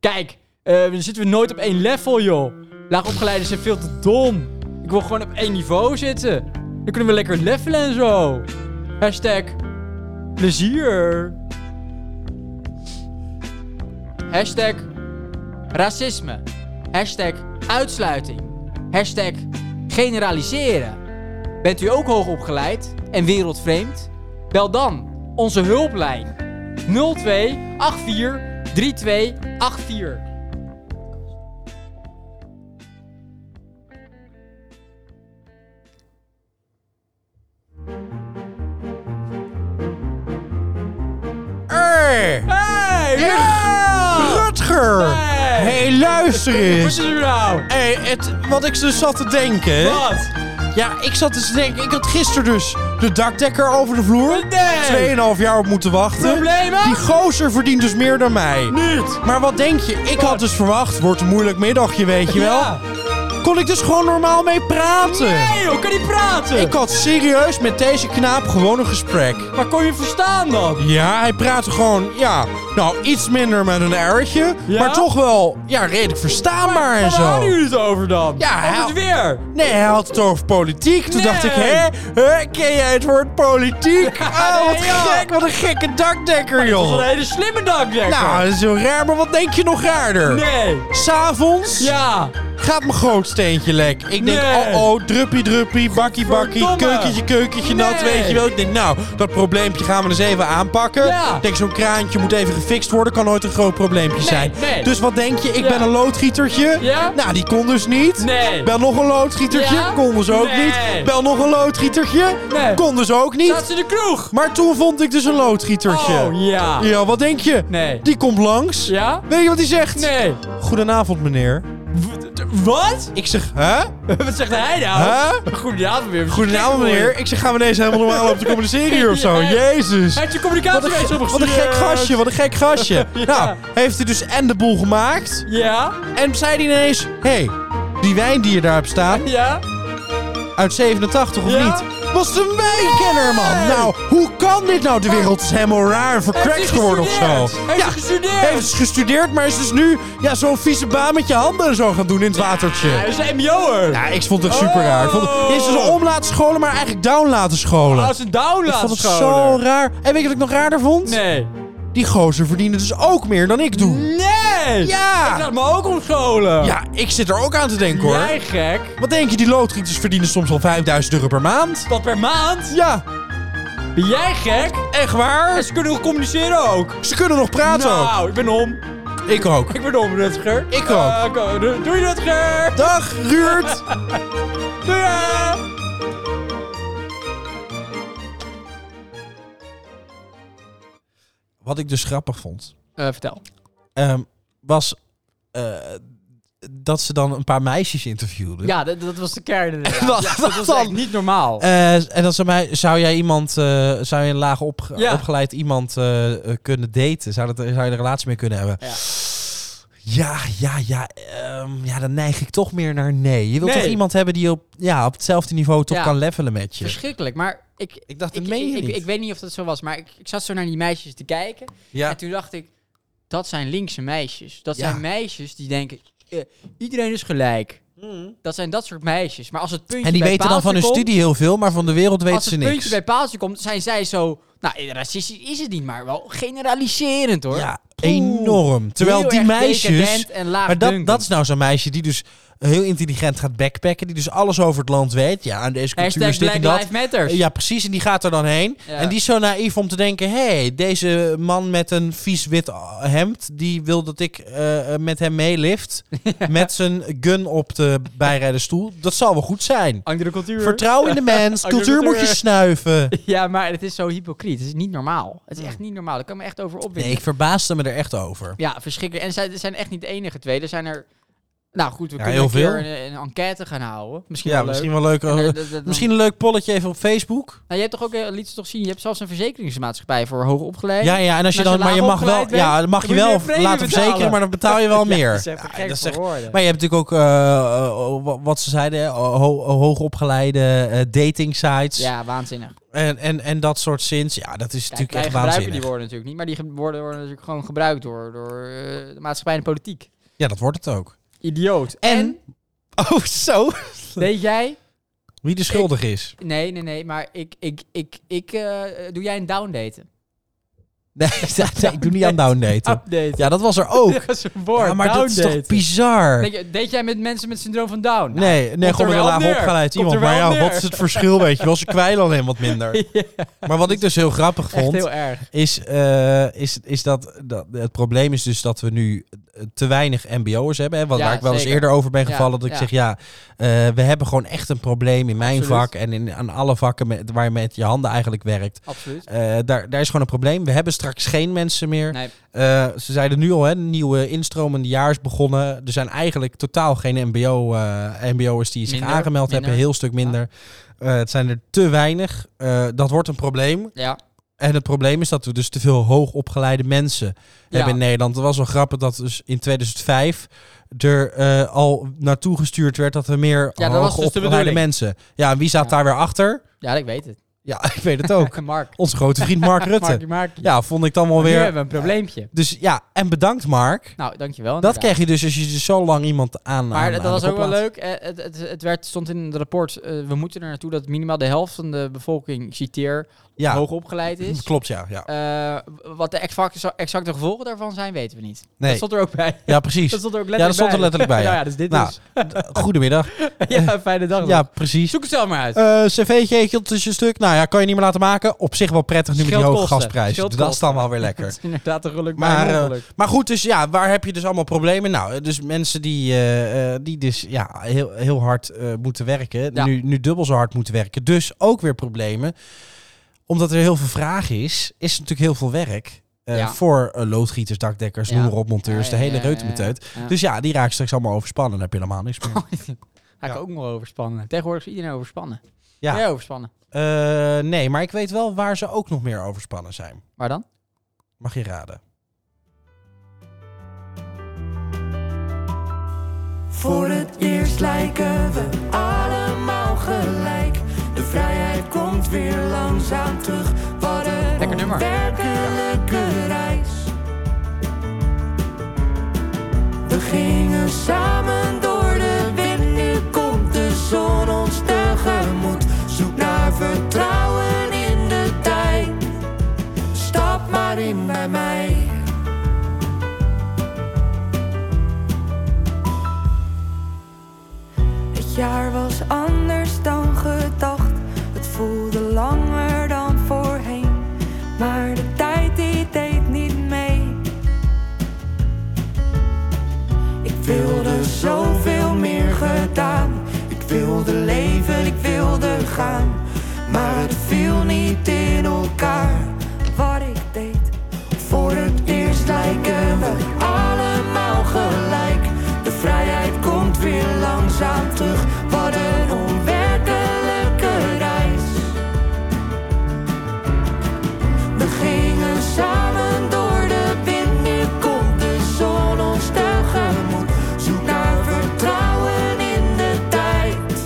[SPEAKER 2] Kijk, eh, dan zitten we nooit op één level, joh. Laagopgeleiden zijn veel te dom. Ik wil gewoon op één niveau zitten. Dan kunnen we lekker levelen en zo. Hashtag plezier. Hashtag racisme. Hashtag uitsluiting. Hashtag generaliseren. Bent u ook hoogopgeleid en wereldvreemd? Bel dan onze hulplijn 02 84 32 84.
[SPEAKER 1] Hey,
[SPEAKER 2] Hey! Ja!
[SPEAKER 1] Rutger!
[SPEAKER 2] Hey.
[SPEAKER 1] hey, luister
[SPEAKER 2] Wat
[SPEAKER 1] eens.
[SPEAKER 2] is er nou?
[SPEAKER 1] Hey, het, wat ik dus zat te denken.
[SPEAKER 2] Wat?
[SPEAKER 1] Ja, ik zat dus te denken. Ik had gisteren dus de dakdekker over de vloer.
[SPEAKER 2] Nee.
[SPEAKER 1] Tweeënhalf jaar op moeten wachten.
[SPEAKER 2] Problemen?
[SPEAKER 1] Die gozer verdient dus meer dan mij.
[SPEAKER 2] Niet!
[SPEAKER 1] Maar wat denk je? Ik had dus verwacht, wordt een moeilijk middagje, weet je wel.
[SPEAKER 2] Ja.
[SPEAKER 1] Kon ik dus gewoon normaal mee praten.
[SPEAKER 2] Nee joh, kan die praten?
[SPEAKER 1] Ik had serieus met deze knaap gewoon een gesprek.
[SPEAKER 2] Maar kon je verstaan dan?
[SPEAKER 1] Ja, hij praatte gewoon, ja, nou iets minder met een R'tje.
[SPEAKER 2] Ja?
[SPEAKER 1] Maar toch wel, ja, redelijk verstaanbaar en
[SPEAKER 2] Waar hadden
[SPEAKER 1] zo.
[SPEAKER 2] jullie het over dan?
[SPEAKER 1] Ja,
[SPEAKER 2] Over het
[SPEAKER 1] ja.
[SPEAKER 2] weer!
[SPEAKER 1] Nee, hij had het over politiek. Toen dacht ik,
[SPEAKER 2] Nee.
[SPEAKER 1] hè, hè, ken jij het woord politiek?
[SPEAKER 2] Ja,
[SPEAKER 1] Ah, wat
[SPEAKER 2] nee, joh.
[SPEAKER 1] gek, wat een gekke dakdekker,
[SPEAKER 2] Dat was een
[SPEAKER 1] joh.
[SPEAKER 2] hele slimme dakdekker!
[SPEAKER 1] Nou, dat is heel raar, maar wat denk je nog raarder?
[SPEAKER 2] Nee!
[SPEAKER 1] S'avonds
[SPEAKER 2] Ja!
[SPEAKER 1] gaat mijn grootsteentje lek. Ik denk,
[SPEAKER 2] Nee.
[SPEAKER 1] oh oh, druppie druppie, bakkie bakkie,
[SPEAKER 2] Godverdomme.
[SPEAKER 1] keukentje keukentje, nat,
[SPEAKER 2] Nee.
[SPEAKER 1] weet je wel. Ik denk, nou, dat probleempje gaan we eens even aanpakken.
[SPEAKER 2] Ja.
[SPEAKER 1] Ik denk, zo'n kraantje moet even gefixt worden, kan nooit een groot probleempje zijn.
[SPEAKER 2] nee.
[SPEAKER 1] Dus wat denk je, ik
[SPEAKER 2] Ja.
[SPEAKER 1] ben een loodgietertje.
[SPEAKER 2] Ja?
[SPEAKER 1] Nou, die kon dus niet.
[SPEAKER 2] Nee.
[SPEAKER 1] Bel nog een loodgietertje,
[SPEAKER 2] Ja?
[SPEAKER 1] kon dus ook
[SPEAKER 2] Nee.
[SPEAKER 1] niet. Bel nog een loodgietertje,
[SPEAKER 2] Nee.
[SPEAKER 1] kon dus ook niet.
[SPEAKER 2] Staat ze in de kroeg?
[SPEAKER 1] Maar toen vond ik dus een loodgietertje.
[SPEAKER 2] Oh ja!
[SPEAKER 1] Ja, wat denk je?
[SPEAKER 2] Nee.
[SPEAKER 1] Die komt langs.
[SPEAKER 2] Ja?
[SPEAKER 1] Weet je wat hij zegt?
[SPEAKER 2] Nee!
[SPEAKER 1] Goedenavond, meneer.
[SPEAKER 2] W- Wat?
[SPEAKER 1] Ik zeg, hè?
[SPEAKER 2] Wat zegt hij nou?
[SPEAKER 1] Huh?
[SPEAKER 2] Goedenavond weer.
[SPEAKER 1] Goedenavond meneer. Ik zeg, gaan we deze helemaal normaal op te communiceren hier of zo?
[SPEAKER 2] Ja.
[SPEAKER 1] Jezus.
[SPEAKER 2] Hij heeft je
[SPEAKER 1] Wat een,
[SPEAKER 2] communicatiewijs
[SPEAKER 1] ge-
[SPEAKER 2] opgestuurd.
[SPEAKER 1] wat een gek gastje, wat een gek gastje. Nou, heeft hij dus en de boel gemaakt.
[SPEAKER 2] Ja?
[SPEAKER 1] En zei hij ineens, hé, hey, die wijn die je daar hebt staan,
[SPEAKER 2] Ja?
[SPEAKER 1] uit 87 of
[SPEAKER 2] Ja?
[SPEAKER 1] niet, was de wijnkenner, man. Nou, hoe kan dit nou? De wereld is helemaal raar en verkrakt geworden of zo.
[SPEAKER 2] Heeft hij gestudeerd?
[SPEAKER 1] Heeft dus gestudeerd, maar is dus nu ja, zo'n vieze baan met je handen en zo gaan doen in het watertje.
[SPEAKER 2] Hij is een MBO'er.
[SPEAKER 1] Ja, ik vond het echt super raar. Ik vond het,
[SPEAKER 2] Oh.
[SPEAKER 1] dit is dus om laten scholen, maar eigenlijk down laten scholen.
[SPEAKER 2] Als een down
[SPEAKER 1] Ik
[SPEAKER 2] laat
[SPEAKER 1] vond het zo
[SPEAKER 2] scholen.
[SPEAKER 1] raar. En weet je wat ik nog raarder vond?
[SPEAKER 2] Nee.
[SPEAKER 1] Die gozer verdiende dus ook meer dan ik doe.
[SPEAKER 2] Nee! Ik
[SPEAKER 1] Ja!
[SPEAKER 2] laat me ook omscholen.
[SPEAKER 1] Ja, ik zit er ook aan te denken hoor.
[SPEAKER 2] Jij gek.
[SPEAKER 1] Wat denk je, die loodgieters verdienen soms al 5000 euro per maand?
[SPEAKER 2] Wat per maand?
[SPEAKER 1] Ja,
[SPEAKER 2] Ben jij gek?
[SPEAKER 1] echt
[SPEAKER 2] En
[SPEAKER 1] waar?
[SPEAKER 2] ze kunnen nog communiceren ook.
[SPEAKER 1] Ze kunnen nog praten
[SPEAKER 2] nou, ik ben om.
[SPEAKER 1] ook. Ik ook.
[SPEAKER 2] Ik ben om, Rutger.
[SPEAKER 1] Ik ook.
[SPEAKER 2] Eh, ko- doe- doei, Rutger.
[SPEAKER 1] Dag, Ruurt!
[SPEAKER 2] Doei. hè.
[SPEAKER 1] Wat ik dus grappig vond,
[SPEAKER 2] Eh, vertel.
[SPEAKER 1] ehm, was eh, dat ze dan een paar meisjes interviewden.
[SPEAKER 2] Ja, dat, dat was de kern. inderdaad.
[SPEAKER 1] Wat
[SPEAKER 2] Ja,
[SPEAKER 1] was
[SPEAKER 2] dat was
[SPEAKER 1] dan?
[SPEAKER 2] echt niet normaal.
[SPEAKER 1] Eh, en dan zou, mij, zou jij iemand, eh, zou je een laag opge-
[SPEAKER 2] Ja.
[SPEAKER 1] opgeleid iemand eh, eh, kunnen daten? Zou, dat, zou je een relatie mee kunnen hebben?
[SPEAKER 2] Ja.
[SPEAKER 1] Ja, ja, ja. ehm, ja, dan neig ik toch meer naar nee. Je wilt
[SPEAKER 2] Nee.
[SPEAKER 1] toch iemand hebben die op, ja, op hetzelfde niveau toch
[SPEAKER 2] Ja.
[SPEAKER 1] kan levelen met je.
[SPEAKER 2] Verschrikkelijk, maar ik,
[SPEAKER 1] Ik dacht, dat
[SPEAKER 2] ik,
[SPEAKER 1] meen je
[SPEAKER 2] ik,
[SPEAKER 1] niet.
[SPEAKER 2] ik, ik weet niet of dat zo was, maar ik, ik zat zo naar die meisjes te kijken.
[SPEAKER 1] Ja.
[SPEAKER 2] En toen dacht ik, dat zijn linkse meisjes. Dat
[SPEAKER 1] Ja.
[SPEAKER 2] zijn meisjes die denken, eh, iedereen is gelijk. Dat zijn dat soort meisjes. Maar als het puntje
[SPEAKER 1] En die
[SPEAKER 2] bij
[SPEAKER 1] weten dan van hun
[SPEAKER 2] paaltje komt,
[SPEAKER 1] studie heel veel, maar van de wereld weten
[SPEAKER 2] als
[SPEAKER 1] ze
[SPEAKER 2] het
[SPEAKER 1] niks.
[SPEAKER 2] puntje bij paaltje komt, zijn zij zo... Nou, racistisch is het niet, maar wel generaliserend hoor.
[SPEAKER 1] Ja,
[SPEAKER 2] Poeh.
[SPEAKER 1] enorm. Terwijl
[SPEAKER 2] Heel
[SPEAKER 1] die
[SPEAKER 2] erg
[SPEAKER 1] meisjes...
[SPEAKER 2] decadent En laag
[SPEAKER 1] Maar dat, dat is nou zo'n meisje die dus heel intelligent gaat backpacken. Die dus alles over het land weet. Ja, aan deze cultuur
[SPEAKER 2] Hashtag
[SPEAKER 1] is dit en
[SPEAKER 2] Black
[SPEAKER 1] dat.
[SPEAKER 2] Lives Matter.
[SPEAKER 1] Ja, precies. En die gaat er dan heen.
[SPEAKER 2] Ja.
[SPEAKER 1] En die is zo naïef om te denken... hé, hey, deze man met een vies wit hemd... die wil dat ik eh, met hem meelift... met zijn gun op de bijrijderstoel. Dat zal wel goed zijn.
[SPEAKER 2] Andere cultuur.
[SPEAKER 1] Vertrouw in de mens.
[SPEAKER 2] Oké,
[SPEAKER 1] Cultuur moet je
[SPEAKER 2] cultuur.
[SPEAKER 1] snuiven.
[SPEAKER 2] Ja, maar het is zo hypocriet. Het is niet normaal. Het is echt niet normaal. Daar kan ik me echt over opwinden.
[SPEAKER 1] Nee, ik verbaasde me er echt over.
[SPEAKER 2] Ja, verschrikkelijk. En zij- er zijn echt niet de enige twee. Er zijn er Nou goed, we
[SPEAKER 1] Ja,
[SPEAKER 2] kunnen een
[SPEAKER 1] heel
[SPEAKER 2] keer
[SPEAKER 1] veel.
[SPEAKER 2] een, een enquête gaan houden. Misschien
[SPEAKER 1] ja,
[SPEAKER 2] wel
[SPEAKER 1] misschien
[SPEAKER 2] leuk.
[SPEAKER 1] wel leuk.
[SPEAKER 2] En,
[SPEAKER 1] eh,
[SPEAKER 2] eh, dat- dat-
[SPEAKER 1] Misschien een leuk polletje even op Facebook.
[SPEAKER 2] Nou, je hebt toch ook, eh, liet ze toch zien, je hebt zelfs een verzekeringsmaatschappij voor hoogopgeleiden.
[SPEAKER 1] Ja, ja, en als je
[SPEAKER 2] als je
[SPEAKER 1] dan, maar je
[SPEAKER 2] laag
[SPEAKER 1] mag wel,
[SPEAKER 2] opgeleid
[SPEAKER 1] ja, dan mag
[SPEAKER 2] dan
[SPEAKER 1] je
[SPEAKER 2] moet je
[SPEAKER 1] wel
[SPEAKER 2] een premie
[SPEAKER 1] laten verzekeren,
[SPEAKER 2] betalen.
[SPEAKER 1] maar dan betaal je wel meer.
[SPEAKER 2] Dat is echt
[SPEAKER 1] Ja,
[SPEAKER 2] te gek
[SPEAKER 1] dat is
[SPEAKER 2] voor
[SPEAKER 1] echt-
[SPEAKER 2] woorden.
[SPEAKER 1] Maar je hebt natuurlijk ook eh, eh, wa- wat ze zeiden, hè, ho- hoogopgeleide eh, dating sites
[SPEAKER 2] Ja, waanzinnig.
[SPEAKER 1] en, en, en dat soort zins. Ja, dat is
[SPEAKER 2] Kijk,
[SPEAKER 1] natuurlijk
[SPEAKER 2] wij
[SPEAKER 1] echt
[SPEAKER 2] gebruiken die
[SPEAKER 1] waanzinnig.
[SPEAKER 2] woorden natuurlijk niet, maar die ge- woorden worden natuurlijk gewoon gebruikt door, door eh, de maatschappij en de politiek.
[SPEAKER 1] Ja, dat wordt het ook.
[SPEAKER 2] Idioot.
[SPEAKER 1] En? Oh, zo.
[SPEAKER 2] deed jij?
[SPEAKER 1] Wie de schuldig is.
[SPEAKER 2] Nee, nee, nee, maar ik, ik, ik, ik, eh, doe jij een downdaten?
[SPEAKER 1] Nee, nee, ik doe niet aan downdaten.
[SPEAKER 2] Updaten.
[SPEAKER 1] Oh. Ja, dat was er ook.
[SPEAKER 2] dat is een woord.
[SPEAKER 1] Ja, maar dat is toch
[SPEAKER 2] downdaten.
[SPEAKER 1] bizar?
[SPEAKER 2] Denk je, Deed jij met mensen met syndroom van Down? Nou,
[SPEAKER 1] Nee, nee
[SPEAKER 2] er
[SPEAKER 1] gewoon een
[SPEAKER 2] wel
[SPEAKER 1] laag
[SPEAKER 2] neer.
[SPEAKER 1] opgeleid
[SPEAKER 2] Komt
[SPEAKER 1] iemand.
[SPEAKER 2] er wel
[SPEAKER 1] Maar ja,
[SPEAKER 2] neer.
[SPEAKER 1] wat is het verschil, weet je wel? Ze kwijlen alleen wat minder. Maar wat ik dus heel grappig
[SPEAKER 2] echt
[SPEAKER 1] vond,
[SPEAKER 2] heel erg.
[SPEAKER 1] is, eh, is, is dat, dat het probleem is dus dat we nu eh, te weinig MBO'ers hebben. Hè, wat,
[SPEAKER 2] Ja,
[SPEAKER 1] waar ik wel eens
[SPEAKER 2] zeker.
[SPEAKER 1] eerder over ben
[SPEAKER 2] Ja,
[SPEAKER 1] gevallen. dat ik
[SPEAKER 2] ja.
[SPEAKER 1] zeg, ja, eh, we hebben gewoon echt een probleem in mijn
[SPEAKER 2] Absoluut.
[SPEAKER 1] vak en in, aan alle vakken met, waar je met je handen eigenlijk werkt.
[SPEAKER 2] Absoluut.
[SPEAKER 1] Eh, daar, daar is gewoon een probleem. We hebben straks geen mensen meer.
[SPEAKER 2] Nee,
[SPEAKER 1] Eh, ze zeiden nu al, hè, nieuwe instromende jaar is begonnen. Er zijn eigenlijk totaal geen MBO, eh, MBO'ers die zich
[SPEAKER 2] Minder,
[SPEAKER 1] aangemeld hebben.
[SPEAKER 2] minder.
[SPEAKER 1] Heel stuk minder. Eh, het zijn er te weinig. Eh, dat wordt een probleem.
[SPEAKER 2] ja.
[SPEAKER 1] En het probleem is dat we dus te veel hoogopgeleide mensen hebben in Nederland. Het was wel grappig dat dus in 2005 er eh, al naartoe gestuurd werd dat er meer
[SPEAKER 2] Ja, dat was dus de
[SPEAKER 1] hoogopgeleide
[SPEAKER 2] bedoeling.
[SPEAKER 1] mensen. Ja, en wie zat
[SPEAKER 2] Ja.
[SPEAKER 1] daar weer achter?
[SPEAKER 2] ja, ik weet het.
[SPEAKER 1] Ja, ik weet het ook.
[SPEAKER 2] Mark.
[SPEAKER 1] Onze grote vriend Mark Rutte.
[SPEAKER 2] Mark, Mark.
[SPEAKER 1] Ja, vond ik dan wel
[SPEAKER 2] Nu
[SPEAKER 1] weer.
[SPEAKER 2] hebben we een probleempje.
[SPEAKER 1] Dus ja, en bedankt Mark.
[SPEAKER 2] Nou, dankjewel.
[SPEAKER 1] Dat
[SPEAKER 2] inderdaad.
[SPEAKER 1] krijg je dus als je dus zo lang iemand aan.
[SPEAKER 2] Maar
[SPEAKER 1] aan-
[SPEAKER 2] dat
[SPEAKER 1] aan de
[SPEAKER 2] was
[SPEAKER 1] kop
[SPEAKER 2] ook wel
[SPEAKER 1] laat.
[SPEAKER 2] leuk. Eh, het, het, het werd, stond in het rapport, eh, we moeten er naartoe dat minimaal de helft van de bevolking, ik citeer,
[SPEAKER 1] Ja,
[SPEAKER 2] hoogopgeleid is.
[SPEAKER 1] klopt ja. Ja,
[SPEAKER 2] Eh, wat de exacte, exacte gevolgen daarvan zijn, weten we niet.
[SPEAKER 1] Nee.
[SPEAKER 2] Dat stond er ook bij.
[SPEAKER 1] ja precies.
[SPEAKER 2] Dat stond er ook letterlijk
[SPEAKER 1] Ja, dat stond er
[SPEAKER 2] bij.
[SPEAKER 1] letterlijk bij.
[SPEAKER 2] nou
[SPEAKER 1] Ja.
[SPEAKER 2] ja, dus dit
[SPEAKER 1] Nou,
[SPEAKER 2] is.
[SPEAKER 1] Goedemiddag.
[SPEAKER 2] ja, fijne dag.
[SPEAKER 1] Ja,
[SPEAKER 2] Ja.
[SPEAKER 1] precies.
[SPEAKER 2] Zoek het zelf maar uit.
[SPEAKER 1] Eh cv'tje, ekeltje stuk. Nou ja, kan je niet meer laten maken. Op zich wel prettig nu met die hoge
[SPEAKER 2] Scheelt kosten.
[SPEAKER 1] gasprijs.
[SPEAKER 2] Scheelt
[SPEAKER 1] Dat is dan
[SPEAKER 2] kosten.
[SPEAKER 1] wel weer
[SPEAKER 2] Dat
[SPEAKER 1] lekker.
[SPEAKER 2] is inderdaad een geluk,
[SPEAKER 1] Maar,
[SPEAKER 2] maar, een
[SPEAKER 1] eh,
[SPEAKER 2] ongeluk.
[SPEAKER 1] Maar goed, dus ja, waar heb je dus allemaal problemen? Nou, eh, dus mensen die, eh, eh, die dus ja, heel, heel hard eh, moeten werken.
[SPEAKER 2] Ja.
[SPEAKER 1] Nu, nu dubbel zo hard moeten werken. Dus ook weer problemen. Omdat er heel veel vraag is, is er natuurlijk heel veel werk. eh,
[SPEAKER 2] Ja.
[SPEAKER 1] Voor eh, loodgieters, dakdekkers,
[SPEAKER 2] Ja.
[SPEAKER 1] noem maar op, monteurs,
[SPEAKER 2] Ja,
[SPEAKER 1] de hele
[SPEAKER 2] ja, ja,
[SPEAKER 1] reutemeteut.
[SPEAKER 2] ja, ja.
[SPEAKER 1] Dus ja, die raken straks allemaal overspannen. Dan heb je helemaal niks meer.
[SPEAKER 2] Ga ik
[SPEAKER 1] ja.
[SPEAKER 2] ook nog overspannen. Tegenwoordig is iedereen overspannen.
[SPEAKER 1] Ja.
[SPEAKER 2] Ja. Ben jij overspannen?
[SPEAKER 1] Eh, nee, maar ik weet wel waar ze ook nog meer overspannen zijn.
[SPEAKER 2] Waar dan?
[SPEAKER 1] Mag je raden?
[SPEAKER 6] Voor het eerst lijken we allemaal gelijk. De vrijheid komt weer langzaam terug. Wat een
[SPEAKER 2] Lekker nummer.
[SPEAKER 6] onwerkelijke reis. We gingen samen door de wind, nu komt de zon ons tegemoet. Zoek naar vertrouwen in de tijd. Stap maar in bij mij. Het jaar was anders dan gedacht. Het voelde langer dan voorheen. Maar de tijd die deed niet mee. Ik wilde zoveel meer gedaan. Ik wilde leven, ik wilde gaan. Maar het viel niet in elkaar wat ik deed. Voor het eerst lijken we allemaal gelijk. De vrijheid komt weer langzaam terug. Wat een onwerkelijke reis. We gingen samen door de wind. Nu komt de zon ons tegemoet. Zoek naar vertrouwen in de tijd.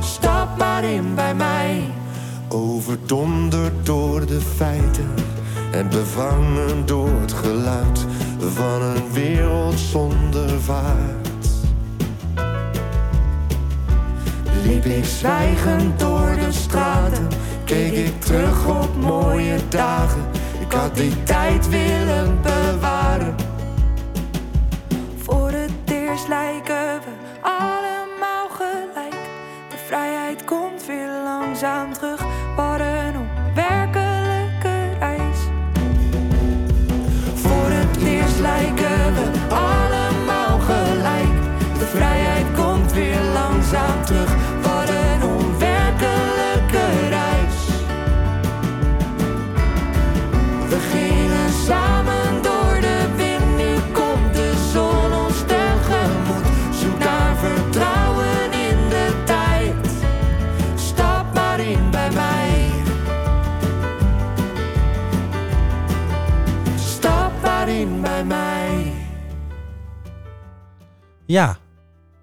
[SPEAKER 6] Stap maar in bij mij.
[SPEAKER 7] Overdonderd door de feiten en bevangen door het geluid van een wereld zonder vaart.
[SPEAKER 6] liep ik zwijgend door de straten. Keek ik terug op mooie dagen. Ik had die tijd willen bewaren. Voor het eerst lijken we allemaal gelijk. De vrijheid komt weer langzaam terug. Wat een onwerkelijke reis. Voor het eerst lijken we allemaal gelijk. De vrijheid komt weer langzaam terug. Wat een onwerkelijke reis. We gingen samen door de wind. Nu komt de zon ons tegemoet. Zoek
[SPEAKER 1] Ja,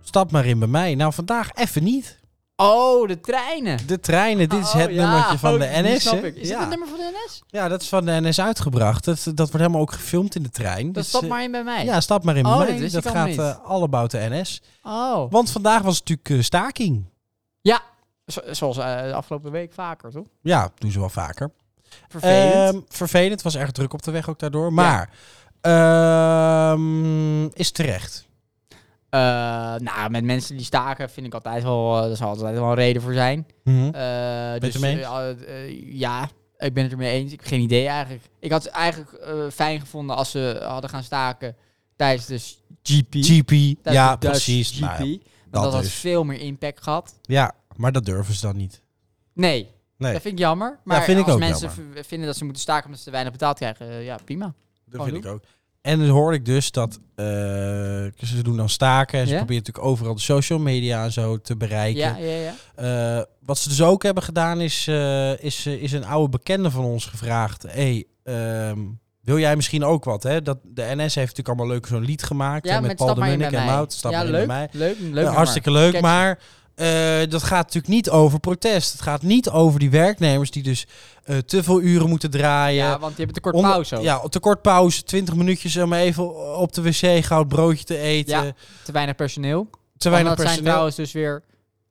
[SPEAKER 1] stap maar in bij mij. Nou, vandaag even niet.
[SPEAKER 2] Oh, de treinen.
[SPEAKER 1] De treinen, dit is
[SPEAKER 2] Oh,
[SPEAKER 1] het
[SPEAKER 2] ja.
[SPEAKER 1] nummertje van
[SPEAKER 2] Oh,
[SPEAKER 1] de
[SPEAKER 2] die
[SPEAKER 1] NS.
[SPEAKER 2] snap
[SPEAKER 1] hè?
[SPEAKER 2] ik. Is dat
[SPEAKER 1] ja.
[SPEAKER 2] het nummer van de NS?
[SPEAKER 1] ja, dat is van de NS uitgebracht. Dat, dat wordt helemaal ook gefilmd in de trein.
[SPEAKER 2] Dan
[SPEAKER 1] Dus,
[SPEAKER 2] stap
[SPEAKER 1] eh,
[SPEAKER 2] maar in bij mij.
[SPEAKER 1] Ja, stap maar in
[SPEAKER 2] Oh,
[SPEAKER 1] bij
[SPEAKER 2] dat
[SPEAKER 1] mij.
[SPEAKER 2] wist ik
[SPEAKER 1] Dat
[SPEAKER 2] allemaal
[SPEAKER 1] gaat
[SPEAKER 2] niet.
[SPEAKER 1] eh, all about de NS.
[SPEAKER 2] Oh.
[SPEAKER 1] Want vandaag was het natuurlijk eh, staking.
[SPEAKER 2] Ja, zo- zoals eh, de afgelopen week vaker, toch?
[SPEAKER 1] Ja, doen ze wel vaker.
[SPEAKER 2] Vervelend.
[SPEAKER 1] Ehm, vervelend. Was erg druk op de weg ook daardoor. Maar ehm, is terecht.
[SPEAKER 2] Eh, nou, met mensen die staken vind ik altijd wel... eh, daar zal altijd wel een reden voor zijn. Eh,
[SPEAKER 1] je
[SPEAKER 2] dus,
[SPEAKER 1] het ermee
[SPEAKER 2] eh, eh, eh, ja, ik ben het ermee eens. Ik heb geen idee eigenlijk. Ik had het eigenlijk eh, fijn gevonden als ze hadden gaan staken tijdens de s- GP.
[SPEAKER 1] GP.
[SPEAKER 2] Tijdens
[SPEAKER 1] Ja,
[SPEAKER 2] de Dutch
[SPEAKER 1] precies.
[SPEAKER 2] GP.
[SPEAKER 1] Nou ja,
[SPEAKER 2] dat
[SPEAKER 1] dat
[SPEAKER 2] had
[SPEAKER 1] dus.
[SPEAKER 2] veel meer impact gehad.
[SPEAKER 1] ja, maar dat durven ze dan niet.
[SPEAKER 2] Nee,
[SPEAKER 1] Nee.
[SPEAKER 2] dat vind ik jammer. Maar
[SPEAKER 1] vind ik
[SPEAKER 2] als
[SPEAKER 1] ook
[SPEAKER 2] mensen v- vinden dat ze moeten staken omdat ze te weinig betaald krijgen, eh, ja, prima.
[SPEAKER 1] Dat
[SPEAKER 2] Gewoon
[SPEAKER 1] vind ik ook. En dan hoorde ik dus dat eh, ze doen dan staken. En ze
[SPEAKER 2] Ja?
[SPEAKER 1] proberen natuurlijk overal de social media en zo te bereiken.
[SPEAKER 2] Ja, ja, ja.
[SPEAKER 1] Eh, wat ze dus ook hebben gedaan is, eh, is, eh, is een oude bekende van ons gevraagd. hey, ehm, wil jij misschien ook wat? Hè? Dat, de NS heeft natuurlijk allemaal leuk zo'n lied gemaakt.
[SPEAKER 2] ja
[SPEAKER 1] hè, met, Paul de
[SPEAKER 2] maar in
[SPEAKER 1] Munnik
[SPEAKER 2] bij
[SPEAKER 1] en
[SPEAKER 2] mij.
[SPEAKER 1] Mout. Stap
[SPEAKER 2] ja,
[SPEAKER 1] maar in bij
[SPEAKER 2] leuk,
[SPEAKER 1] mij.
[SPEAKER 2] Leuk, leuk
[SPEAKER 1] Ja,
[SPEAKER 2] nummer.
[SPEAKER 1] hartstikke leuk,
[SPEAKER 2] Catchy.
[SPEAKER 1] maar eh, dat gaat natuurlijk niet over protest. Het gaat niet over die werknemers die dus eh, te veel uren moeten draaien.
[SPEAKER 2] Ja, want je hebt een kort
[SPEAKER 1] eh, Onder-
[SPEAKER 2] pauze. ook.
[SPEAKER 1] Ja, te kort pauze, 20 minuutjes om even op de wc goud broodje te eten.
[SPEAKER 2] Ja, te weinig personeel.
[SPEAKER 1] eh, te weinig
[SPEAKER 2] Want dat
[SPEAKER 1] personeel.
[SPEAKER 2] zijn trouwens dus weer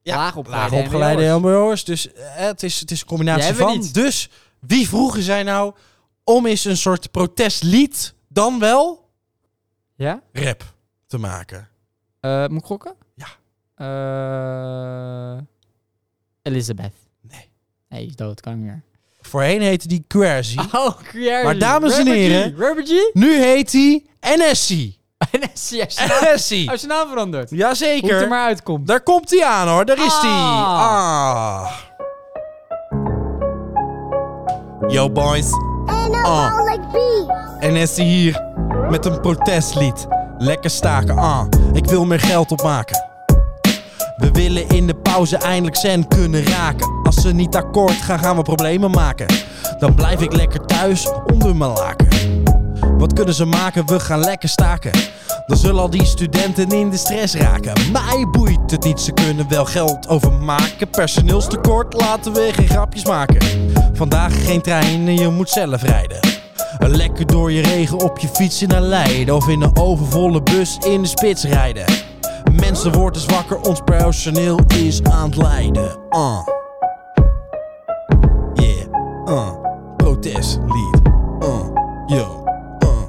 [SPEAKER 1] Ja,
[SPEAKER 2] laag
[SPEAKER 1] Laag
[SPEAKER 2] opgeleide
[SPEAKER 1] opgeleide
[SPEAKER 2] NWO'ers.
[SPEAKER 1] helmers. Dus eh, het, is, het is een combinatie
[SPEAKER 2] Die hebben we
[SPEAKER 1] van.
[SPEAKER 2] niet.
[SPEAKER 1] Dus wie vroegen zij nou om eens een soort protestlied dan wel
[SPEAKER 2] Ja?
[SPEAKER 1] rap te maken?
[SPEAKER 2] Eh, moet ik gokken?
[SPEAKER 1] Ja.
[SPEAKER 2] Eh, Elizabeth.
[SPEAKER 1] Nee.
[SPEAKER 2] Nee, die is dood. Kan niet meer.
[SPEAKER 1] Voorheen heette die Quercy.
[SPEAKER 2] Oh, Query.
[SPEAKER 1] Maar dames en
[SPEAKER 2] Rubber G,
[SPEAKER 1] heren-
[SPEAKER 2] Rubber G.
[SPEAKER 1] Nu heet die NSC.
[SPEAKER 2] En als je- als je naam-
[SPEAKER 1] NSC.
[SPEAKER 2] als je Oh, naam verandert. Hoe het er
[SPEAKER 1] Jazeker.
[SPEAKER 2] maar uitkomt.
[SPEAKER 1] Daar komt hij aan hoor, daar is hij.
[SPEAKER 2] Ah.
[SPEAKER 1] Ah. Yo boys. Ah. En is hij hier met een protestlied. Lekker staken, ah. Ik wil meer geld opmaken. We willen in de pauze eindelijk zen kunnen raken. Als ze niet akkoord gaan, gaan we problemen maken. Dan blijf ik lekker thuis onder mijn laken. Wat kunnen ze maken? We gaan lekker staken. Dan zullen al die studenten in de stress raken. Mij boeit het niet, ze kunnen wel geld overmaken. Personeelstekort, laten we geen grapjes maken. Vandaag geen trein, je moet zelf rijden. Lekker door je regen op je fiets in naar Leiden. Of in een overvolle bus in de spits rijden. Mensen worden zwakker, ons personeel is aan het lijden. Ah. Yeah, uh. Protestlied. Uh. Yo, uh.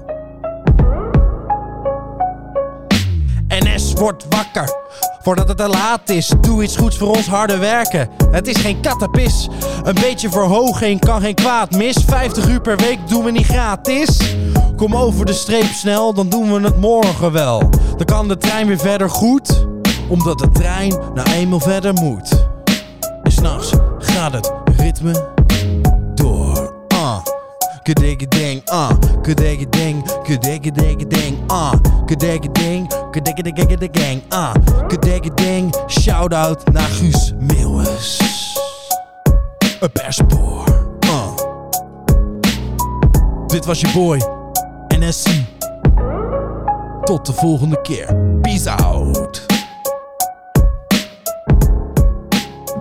[SPEAKER 1] NS wordt wakker. Voordat het te laat is, doe iets goeds voor ons harde werken. Het is geen kattenpis. Een beetje verhoging kan geen kwaad mis. 50 uur per week doen we niet gratis. Kom over de streep snel, dan doen we het morgen wel. Dan kan de trein weer verder goed, omdat de trein nou eenmaal verder moet. En s'nachts gaat het ritme door. Ah, kudeke ding, ah, kudeke ding, kudeke deke ding, ah, kudeke ding, kudeke deke deke gang, ah, kudeke ding. Shout out naar Guus Meeuwis. Een perspoor, ah. Dit was je boy, NSC. Tot de volgende keer. Peace out.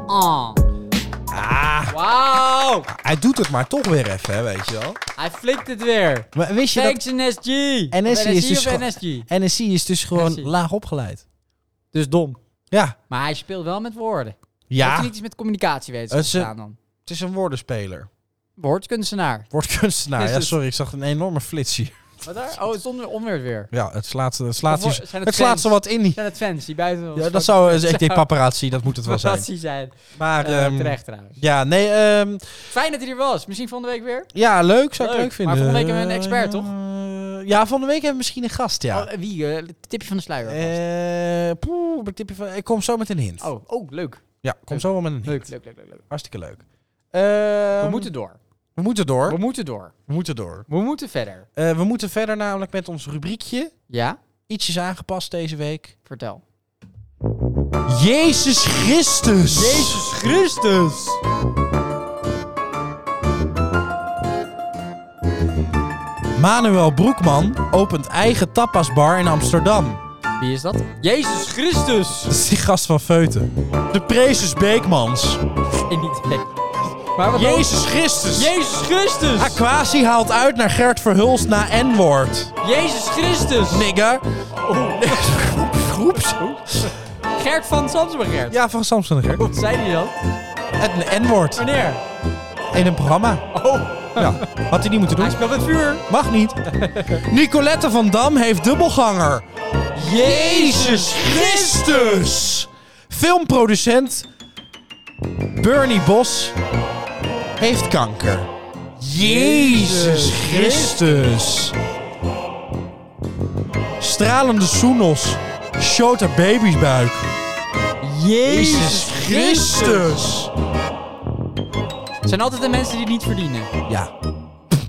[SPEAKER 2] Ah.
[SPEAKER 1] Ah,
[SPEAKER 2] Wauw.
[SPEAKER 1] hij doet het maar toch weer even, hè, weet je wel.
[SPEAKER 2] Hij flikt het weer.
[SPEAKER 1] Maar wist je dat
[SPEAKER 2] Thanks NSG.
[SPEAKER 1] NSG is dus
[SPEAKER 2] of
[SPEAKER 1] gewoon-
[SPEAKER 2] NSG?
[SPEAKER 1] NSC is dus gewoon
[SPEAKER 2] NSC.
[SPEAKER 1] laag opgeleid?
[SPEAKER 2] Dus dom.
[SPEAKER 1] Ja.
[SPEAKER 2] Maar hij speelt wel met woorden. Heeft
[SPEAKER 1] Ja.
[SPEAKER 2] hij niet iets met communicatiewetenschap
[SPEAKER 1] Het is een-
[SPEAKER 2] gedaan dan?
[SPEAKER 1] Het is een woordenspeler.
[SPEAKER 2] Woordkunstenaar.
[SPEAKER 1] Woordkunstenaar.
[SPEAKER 2] Is
[SPEAKER 1] Ja,
[SPEAKER 2] het-
[SPEAKER 1] sorry, ik zag een enorme flits hier.
[SPEAKER 2] Wat daar? Oh, het is onweer, onweer weer.
[SPEAKER 1] Ja, het slaat, het slaat,
[SPEAKER 2] Of wo-
[SPEAKER 1] hier-
[SPEAKER 2] zijn het
[SPEAKER 1] het slaat
[SPEAKER 2] fans?
[SPEAKER 1] ze wat in. die-
[SPEAKER 2] Zijn het fans die buiten ons
[SPEAKER 1] Ja,
[SPEAKER 2] gewoon
[SPEAKER 1] dat zou,
[SPEAKER 2] zou-
[SPEAKER 1] ik denk paparazzi, dat moet het wel zijn.
[SPEAKER 2] paparazzi zijn.
[SPEAKER 1] Maar,
[SPEAKER 2] Eh,
[SPEAKER 1] ehm,
[SPEAKER 2] terecht trouwens.
[SPEAKER 1] ja, nee, ehm,
[SPEAKER 2] Fijn dat hij er was. Misschien volgende week weer.
[SPEAKER 1] ja, leuk, zou ik
[SPEAKER 2] Leuk.
[SPEAKER 1] leuk vinden.
[SPEAKER 2] Maar volgende week hebben we een
[SPEAKER 1] Eh,
[SPEAKER 2] expert, toch?
[SPEAKER 1] eh, Ja, volgende week hebben we misschien een gast, ja.
[SPEAKER 2] Oh, eh, wie? eh, het tipje van de sluier. alvast.
[SPEAKER 1] Eh, poeh, een tipje van- ik kom zo met een hint.
[SPEAKER 2] oh, oh, leuk.
[SPEAKER 1] Ja, kom zo wel met een hint.
[SPEAKER 2] Leuk, leuk, leuk, leuk. leuk.
[SPEAKER 1] Hartstikke leuk. Ehm,
[SPEAKER 2] we moeten door.
[SPEAKER 1] we moeten door.
[SPEAKER 2] We moeten door.
[SPEAKER 1] We moeten door.
[SPEAKER 2] We moeten verder.
[SPEAKER 1] Eh, we moeten verder namelijk met ons rubriekje.
[SPEAKER 2] Ja?
[SPEAKER 1] Ietsjes aangepast deze week.
[SPEAKER 2] Vertel.
[SPEAKER 1] Jezus Christus.
[SPEAKER 2] Christus!
[SPEAKER 1] Manuel Broekman opent eigen tapasbar in Amsterdam.
[SPEAKER 2] Wie is dat? Jezus Christus!
[SPEAKER 1] Dat is die gast van Feuten. De Prezes Beekmans.
[SPEAKER 2] En niet hè. Maar wat
[SPEAKER 1] Jezus Christus.
[SPEAKER 2] Jezus Christus!
[SPEAKER 1] Aquasi haalt uit naar Gert Verhulst na N-woord.
[SPEAKER 2] Jezus Christus!
[SPEAKER 1] Nigger. Oh. Groeps.
[SPEAKER 2] Gert van Samsung Gert.
[SPEAKER 1] Ja, van Samson en Gert.
[SPEAKER 2] Wat zei die dan?
[SPEAKER 1] Het N-woord.
[SPEAKER 2] Wanneer?
[SPEAKER 1] In een programma.
[SPEAKER 2] Oh,
[SPEAKER 1] Ja. Had hij niet moeten
[SPEAKER 2] hij
[SPEAKER 1] doen.
[SPEAKER 2] speelt met vuur.
[SPEAKER 1] Mag niet. Nicolette van Dam heeft dubbelganger. Jezus Christus! Filmproducent Bernie Bos heeft kanker. Jezus Christus! Stralende Soenos showt haar babysbuik. Jezus Christus!
[SPEAKER 2] Het zijn altijd de mensen die het niet verdienen.
[SPEAKER 1] Ja,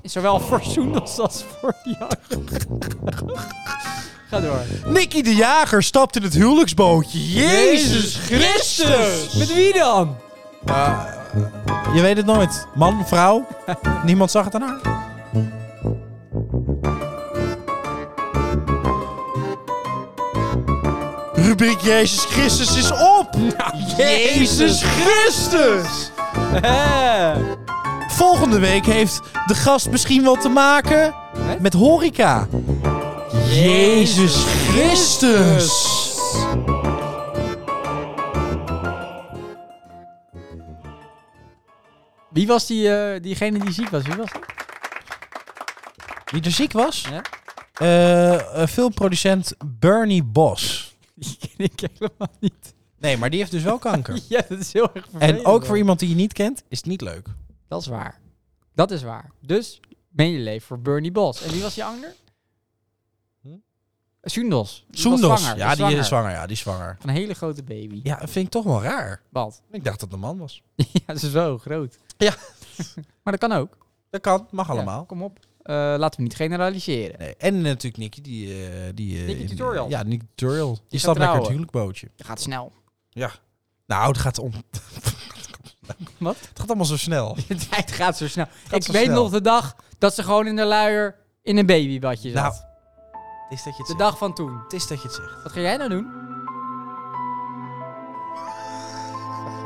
[SPEAKER 2] Zowel voor Soendels als voor Jan. Ga door.
[SPEAKER 1] Nicky de Jager stapt in het huwelijksbootje. Jezus Christus!
[SPEAKER 2] Met wie dan?
[SPEAKER 1] Je weet het nooit. Man, vrouw. Niemand zag het aan haar. Rubriek Jezus Christus is op. Nou, Jezus Christus.
[SPEAKER 2] Hè?
[SPEAKER 1] Volgende week heeft de gast misschien wel te maken met horeca. Jezus Christus.
[SPEAKER 2] Wie was die, eh, diegene die ziek was? Wie was dat?
[SPEAKER 1] Wie er ziek was?
[SPEAKER 2] Ja.
[SPEAKER 1] Eh, eh, filmproducent Bernie Bos.
[SPEAKER 2] Die ken ik helemaal niet.
[SPEAKER 1] Nee, maar die heeft dus wel kanker.
[SPEAKER 2] Ja, dat is heel erg vervelend.
[SPEAKER 1] En ook voor
[SPEAKER 2] hoor.
[SPEAKER 1] iemand die je niet kent, is het niet leuk.
[SPEAKER 2] Dat is waar. Dat is waar. Dus, ben je leven voor Bernie Bos. En wie was die ander? Hm? Soendels. Die was
[SPEAKER 1] Soendos.
[SPEAKER 2] zwanger,
[SPEAKER 1] Ja, die is zwanger. Ja, die is zwanger.
[SPEAKER 2] Een hele grote baby.
[SPEAKER 1] Ja, vind ik toch wel raar.
[SPEAKER 2] Wat?
[SPEAKER 1] Ik dacht dat het een man was.
[SPEAKER 2] Ja, ze is zo groot.
[SPEAKER 1] Ja.
[SPEAKER 2] maar dat kan ook.
[SPEAKER 1] Dat kan, mag
[SPEAKER 2] Ja,
[SPEAKER 1] allemaal.
[SPEAKER 2] kom op. Eh, laten we niet generaliseren.
[SPEAKER 1] Nee. En natuurlijk Nicky, die... eh, die eh,
[SPEAKER 2] Nicky
[SPEAKER 1] in-
[SPEAKER 2] Tutorial.
[SPEAKER 1] ja, Nicky Tutorial. Die
[SPEAKER 2] gaat
[SPEAKER 1] stapt lekker het
[SPEAKER 2] trouwen.
[SPEAKER 1] huwelijkbootje.
[SPEAKER 2] Dat gaat snel.
[SPEAKER 1] Ja. Nou, het gaat om...
[SPEAKER 2] Wat?
[SPEAKER 1] Het gaat allemaal zo snel.
[SPEAKER 2] De tijd gaat zo snel. ik
[SPEAKER 1] zo
[SPEAKER 2] weet
[SPEAKER 1] snel.
[SPEAKER 2] nog de dag dat ze gewoon in de luier in een babybadje zat.
[SPEAKER 1] Nou, het is dat je het
[SPEAKER 2] de
[SPEAKER 1] zegt.
[SPEAKER 2] dag van toen.
[SPEAKER 1] Het is dat je het zegt.
[SPEAKER 2] Wat ga jij nou doen?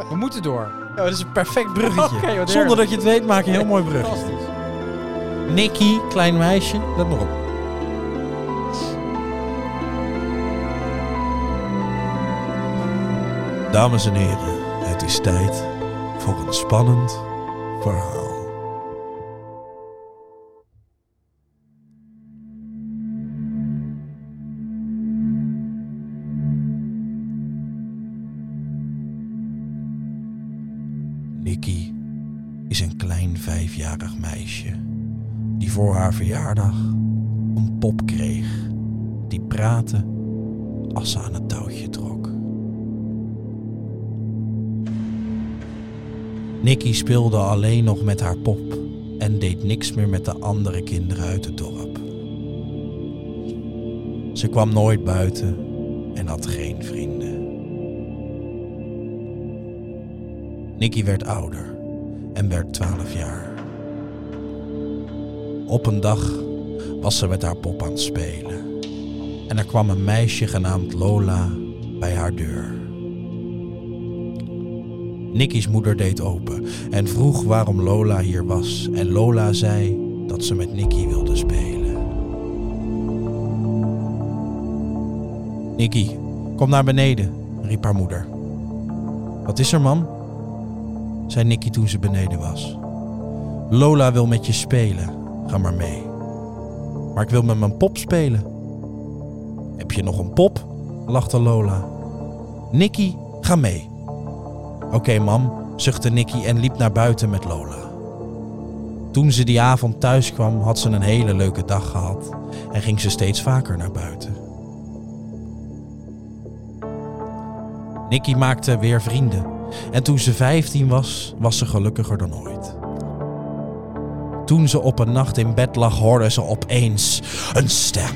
[SPEAKER 2] We moeten door.
[SPEAKER 1] Ja, maar dat is een perfect bruggetje.
[SPEAKER 2] Oké, wat heerlijk.
[SPEAKER 1] Zonder dat je het weet, maak je een heel mooi brug.
[SPEAKER 2] Fantastisch.
[SPEAKER 1] Nicky, klein meisje, let maar op. Dames en heren, het is tijd voor een spannend verhaal. Nikki is een klein vijfjarig meisje die voor haar verjaardag een pop kreeg die praatte als ze aan het touwtje trok. Nikki speelde alleen nog met haar pop en deed niks meer met de andere kinderen uit het dorp. Ze kwam nooit buiten en had geen vrienden. Nicky werd ouder en werd 12 jaar. Op een dag was ze met haar pop aan het spelen. En er kwam een meisje genaamd Lola bij haar deur. Nicky's moeder deed open en vroeg waarom Lola hier was. En Lola zei dat ze met Nicky wilde spelen. Nicky, kom naar beneden, riep haar moeder. Wat is er, mam? zei Nicky toen ze beneden was. Lola wil met je spelen, ga maar mee. Maar ik wil met mijn pop spelen. Heb je nog een pop? lachte Lola. Nicky, ga mee. Oké, mam, zuchtte Nicky en liep naar buiten met Lola. Toen ze die avond thuis kwam, had ze een hele leuke dag gehad en ging ze steeds vaker naar buiten. Nicky maakte weer vrienden en toen ze 15 was, was ze gelukkiger dan ooit. Toen ze op een nacht in bed lag, hoorde ze opeens een stem.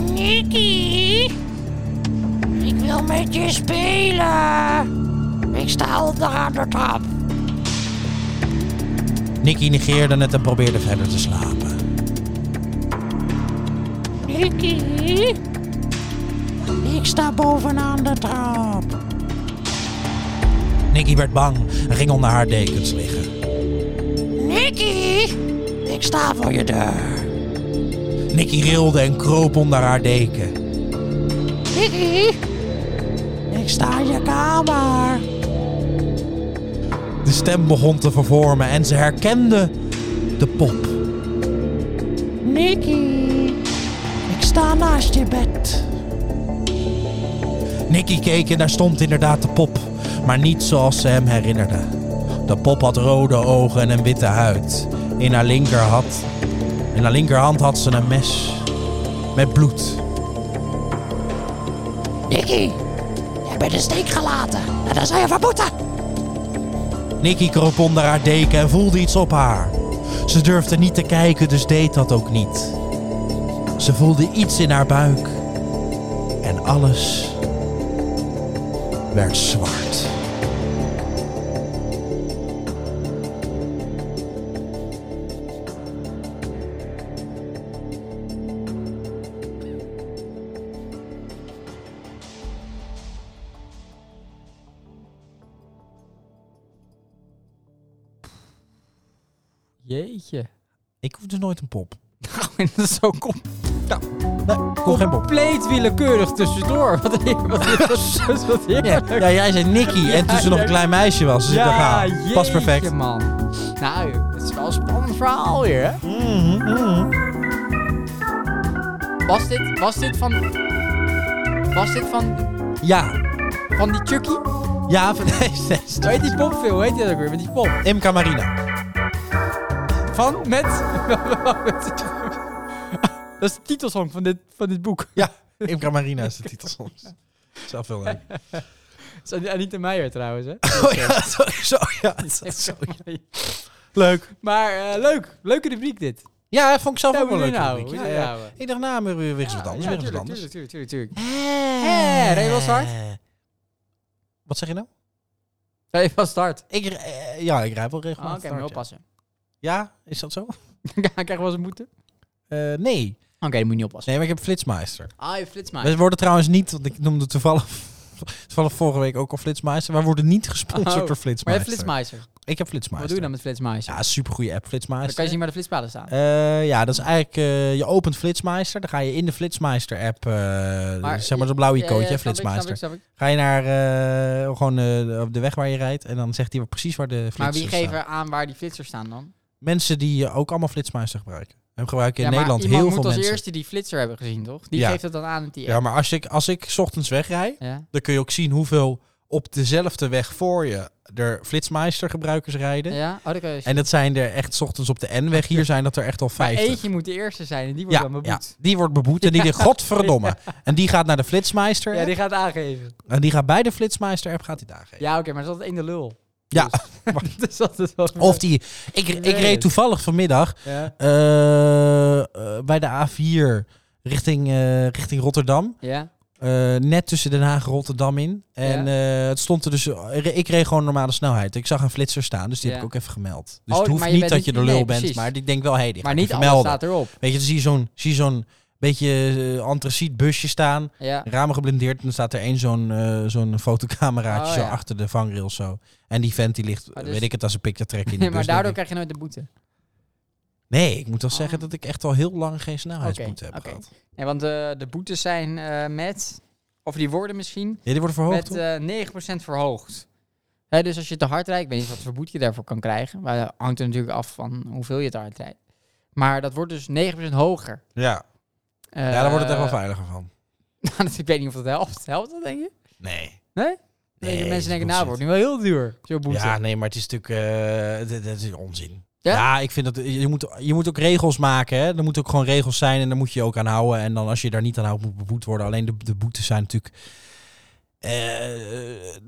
[SPEAKER 8] Nicky, ik wil met je spelen. Ik sta onderaan de trap.
[SPEAKER 1] Nicky negeerde het en probeerde verder te slapen.
[SPEAKER 8] Nicky? Ik sta bovenaan de trap.
[SPEAKER 1] Nicky werd bang en ging onder haar dekens liggen.
[SPEAKER 8] Nicky? Ik sta voor je deur.
[SPEAKER 1] Nicky rilde en kroop onder haar deken.
[SPEAKER 8] Nicky? Ik sta in je kamer.
[SPEAKER 1] De stem begon te vervormen en ze herkende de pop.
[SPEAKER 8] Nicky? Ik sta naast je bed.
[SPEAKER 1] Nicky keek en daar stond inderdaad de pop, maar niet zoals ze hem herinnerde. De pop had rode ogen en een witte huid. In haar, linker had, in haar linkerhand had ze een mes met bloed.
[SPEAKER 8] Nicky? Jij bent in steek gelaten. En dan zou je verboeten.
[SPEAKER 1] Nicky kroop onder haar deken en voelde iets op haar. Ze durfde niet te kijken, dus deed dat ook niet. Ze voelde iets in haar buik en alles werd zwart.
[SPEAKER 2] Jeetje.
[SPEAKER 1] Ik hoef dus nooit een pop.
[SPEAKER 2] Nou, en dat is zo kom
[SPEAKER 1] Nee, ik hoef geen pop.
[SPEAKER 2] compleet willekeurig tussendoor. Wat heer- wat heer- wat heer- wat
[SPEAKER 1] Ja,
[SPEAKER 2] heerlijk.
[SPEAKER 1] ja, jij zei Nicky en toen ze nog een klein meisje was. Dus ik dacht, ah, pas
[SPEAKER 2] jeetje,
[SPEAKER 1] perfect.
[SPEAKER 2] man. Nou, het is wel een spannend verhaal weer, hè?
[SPEAKER 1] Mhm, mhm.
[SPEAKER 2] Was dit, was dit van... Was dit van,
[SPEAKER 1] Ja,
[SPEAKER 2] van die Chucky? Hoe
[SPEAKER 1] ja, van deze is het.
[SPEAKER 2] heet die popfilm? Hoe heet die ook weer? Met die pop.
[SPEAKER 1] Imca Marina.
[SPEAKER 2] Van, met... Dat is de titelsong van dit, van dit boek.
[SPEAKER 1] Ja, Imca Marina is de titel soms. Zelf veel leuk.
[SPEAKER 2] Dat is Anita Meijer trouwens, hè?
[SPEAKER 1] Oh ja, sowieso. Ja, Sorry. Leuk.
[SPEAKER 2] Maar eh, leuk. Leuke rubriek dit.
[SPEAKER 1] Ja, vond ik zelf
[SPEAKER 2] Ja,
[SPEAKER 1] ook wel
[SPEAKER 2] hoe
[SPEAKER 1] leuk.
[SPEAKER 2] doe je nou?
[SPEAKER 1] rubriek.
[SPEAKER 2] Hoe
[SPEAKER 1] Ja,
[SPEAKER 2] doe je
[SPEAKER 1] ja.
[SPEAKER 2] nou?
[SPEAKER 1] Ik dacht, nou, weer, weer eens wat anders.
[SPEAKER 2] Ja,
[SPEAKER 1] Weer eens wat
[SPEAKER 2] tuurlijk,
[SPEAKER 1] anders.
[SPEAKER 2] tuurlijk, tuurlijk, tuurlijk.
[SPEAKER 1] Hé,
[SPEAKER 2] Ren je wel start?
[SPEAKER 1] Wat zeg je nou?
[SPEAKER 2] Ja, je was start.
[SPEAKER 1] Ik, eh, ja, ik rij wel
[SPEAKER 2] Ah,
[SPEAKER 1] regelmatig.
[SPEAKER 2] Oh, Oké, moet
[SPEAKER 1] start, ja.
[SPEAKER 2] je oppassen.
[SPEAKER 1] Ja, is dat zo?
[SPEAKER 2] Ja, ik krijg wel eens een boete. Oké,
[SPEAKER 1] Eh, nee.
[SPEAKER 2] dan moet je niet oppassen.
[SPEAKER 1] Nee, maar ik heb Flitsmeister.
[SPEAKER 2] Ah, je flits
[SPEAKER 1] We worden trouwens niet, want ik noemde toevallig, toevallig vorige week ook al Flitsmeister. Maar we worden niet gesponsord door
[SPEAKER 2] Oh, Maar je
[SPEAKER 1] Flitsmeister.
[SPEAKER 2] hebt flitsmeister.
[SPEAKER 1] Ik heb Flitsmeister.
[SPEAKER 2] Wat doe je dan met flitsmeister?
[SPEAKER 1] Ja, supergoeie app, Flitsmeister.
[SPEAKER 2] dan kan je zien waar de flitspalen staan.
[SPEAKER 1] Eh, ja, dat is eigenlijk, eh, je opent Flitsmeister, dan ga je in de Flitsmeister-app, eh, zeg maar zo'n blauw icoontje,
[SPEAKER 2] Ja, ja,
[SPEAKER 1] hè,
[SPEAKER 2] eh, snap ik,
[SPEAKER 1] Flitsmeister.
[SPEAKER 2] snap ik, snap
[SPEAKER 1] Ga je naar eh, gewoon eh, op de weg waar je rijdt en dan zegt hij wel precies waar de flitsers
[SPEAKER 2] ik. Maar wie
[SPEAKER 1] staan.
[SPEAKER 2] geven aan waar die flitsers staan dan?
[SPEAKER 1] Mensen die eh, ook allemaal flitsmeister gebruiken. Hem gebruiken in
[SPEAKER 2] maar
[SPEAKER 1] Nederland
[SPEAKER 2] iemand
[SPEAKER 1] heel
[SPEAKER 2] moet
[SPEAKER 1] veel
[SPEAKER 2] als
[SPEAKER 1] mensen.
[SPEAKER 2] eerste die flitser hebben gezien, toch? Die
[SPEAKER 1] Ja.
[SPEAKER 2] geeft het dan aan met die
[SPEAKER 1] Ja,
[SPEAKER 2] app.
[SPEAKER 1] maar als ik, als ik 's ochtends wegrij,
[SPEAKER 2] Ja.
[SPEAKER 1] dan kun je ook zien hoeveel op dezelfde weg voor je er flitsmeister gebruikers rijden.
[SPEAKER 2] Ja? Oh, dat kan je zien.
[SPEAKER 1] En dat zijn er echt 's ochtends op de N-weg. Hier zijn dat er echt al
[SPEAKER 2] Maar
[SPEAKER 1] 50.
[SPEAKER 2] eentje moet de eerste zijn en die wordt
[SPEAKER 1] ja,
[SPEAKER 2] dan
[SPEAKER 1] ja,
[SPEAKER 2] beboet.
[SPEAKER 1] die wordt beboet en die denkt, godverdomme. En die gaat naar de flitsmeister
[SPEAKER 2] Ja. die gaat aangeven.
[SPEAKER 1] en die gaat bij de flitsmeister app gaat hij daar geven.
[SPEAKER 2] Ja, oké, maar dat is altijd één de lul.
[SPEAKER 1] Ja.
[SPEAKER 2] Dus, dat is altijd wel...
[SPEAKER 1] Of die, ik, ik reed toevallig vanmiddag
[SPEAKER 2] Ja.
[SPEAKER 1] Eh, eh, bij de A4 richting, eh, richting Rotterdam.
[SPEAKER 2] Ja.
[SPEAKER 1] Eh, net tussen Den Haag en Rotterdam in. En eh, het stond er dus. Ik reed gewoon normale snelheid. Ik zag een flitser staan, dus die heb
[SPEAKER 2] Ja.
[SPEAKER 1] ik ook even gemeld. Dus
[SPEAKER 2] Oh,
[SPEAKER 1] het hoeft
[SPEAKER 2] maar je
[SPEAKER 1] niet
[SPEAKER 2] bent
[SPEAKER 1] dat je
[SPEAKER 2] niet-
[SPEAKER 1] de lul
[SPEAKER 2] nee,
[SPEAKER 1] bent,
[SPEAKER 2] precies.
[SPEAKER 1] maar ik denk wel hé, die ga
[SPEAKER 2] Maar
[SPEAKER 1] ik
[SPEAKER 2] niet
[SPEAKER 1] even
[SPEAKER 2] alles
[SPEAKER 1] melden.
[SPEAKER 2] staat erop.
[SPEAKER 1] Weet je, dan zie je zo'n zie je zo'n beetje eh, antraciet busje staan,
[SPEAKER 2] Ja.
[SPEAKER 1] ramen geblindeerd. En dan staat er één zo'n eh, zo'n fotocameraatje
[SPEAKER 2] Oh,
[SPEAKER 1] zo
[SPEAKER 2] ja.
[SPEAKER 1] achter de vangrail zo. En die vent die ligt, eh,
[SPEAKER 2] Maar dus-
[SPEAKER 1] weet ik het, als een picture trek in de
[SPEAKER 2] Nee,
[SPEAKER 1] bus,
[SPEAKER 2] maar
[SPEAKER 1] denk
[SPEAKER 2] daardoor
[SPEAKER 1] ik.
[SPEAKER 2] krijg je nooit een boete.
[SPEAKER 1] Nee, ik moet wel zeggen dat ik echt al heel lang geen snelheidsboete
[SPEAKER 2] Oh. Oké,
[SPEAKER 1] heb
[SPEAKER 2] oké.
[SPEAKER 1] gehad.
[SPEAKER 2] Nee, want eh, de boetes zijn eh, met, of die worden misschien,
[SPEAKER 1] Ja, die worden verhoogd.
[SPEAKER 2] met
[SPEAKER 1] Oh, toch?
[SPEAKER 2] eh 9% verhoogd. Hè, dus als je te hard rijdt, ik weet niet wat voor boete je daarvoor kan krijgen. Maar dat hangt er natuurlijk af van hoeveel je te hard rijdt. Maar dat wordt dus 9% hoger.
[SPEAKER 1] Ja,
[SPEAKER 2] Eh,
[SPEAKER 1] ja daar wordt het echt wel veiliger van.
[SPEAKER 2] ik weet niet of dat helpt. Helpt dat, denk je?
[SPEAKER 1] Nee.
[SPEAKER 2] Nee?
[SPEAKER 1] Nee,
[SPEAKER 2] Nee, mensen denken, nou,
[SPEAKER 1] bullshit.
[SPEAKER 2] het wordt nu wel heel duur, zo'n boete.
[SPEAKER 1] Ja, nee, maar het is natuurlijk... eh, d- d- dat is onzin. Ja?
[SPEAKER 2] Ja?
[SPEAKER 1] ik vind dat... Je moet, je moet ook regels maken, hè. Er moeten ook gewoon regels zijn en daar moet je je ook aan houden. En dan als je daar niet aan houdt, moet beboet worden. Alleen de, de boetes zijn natuurlijk... eh,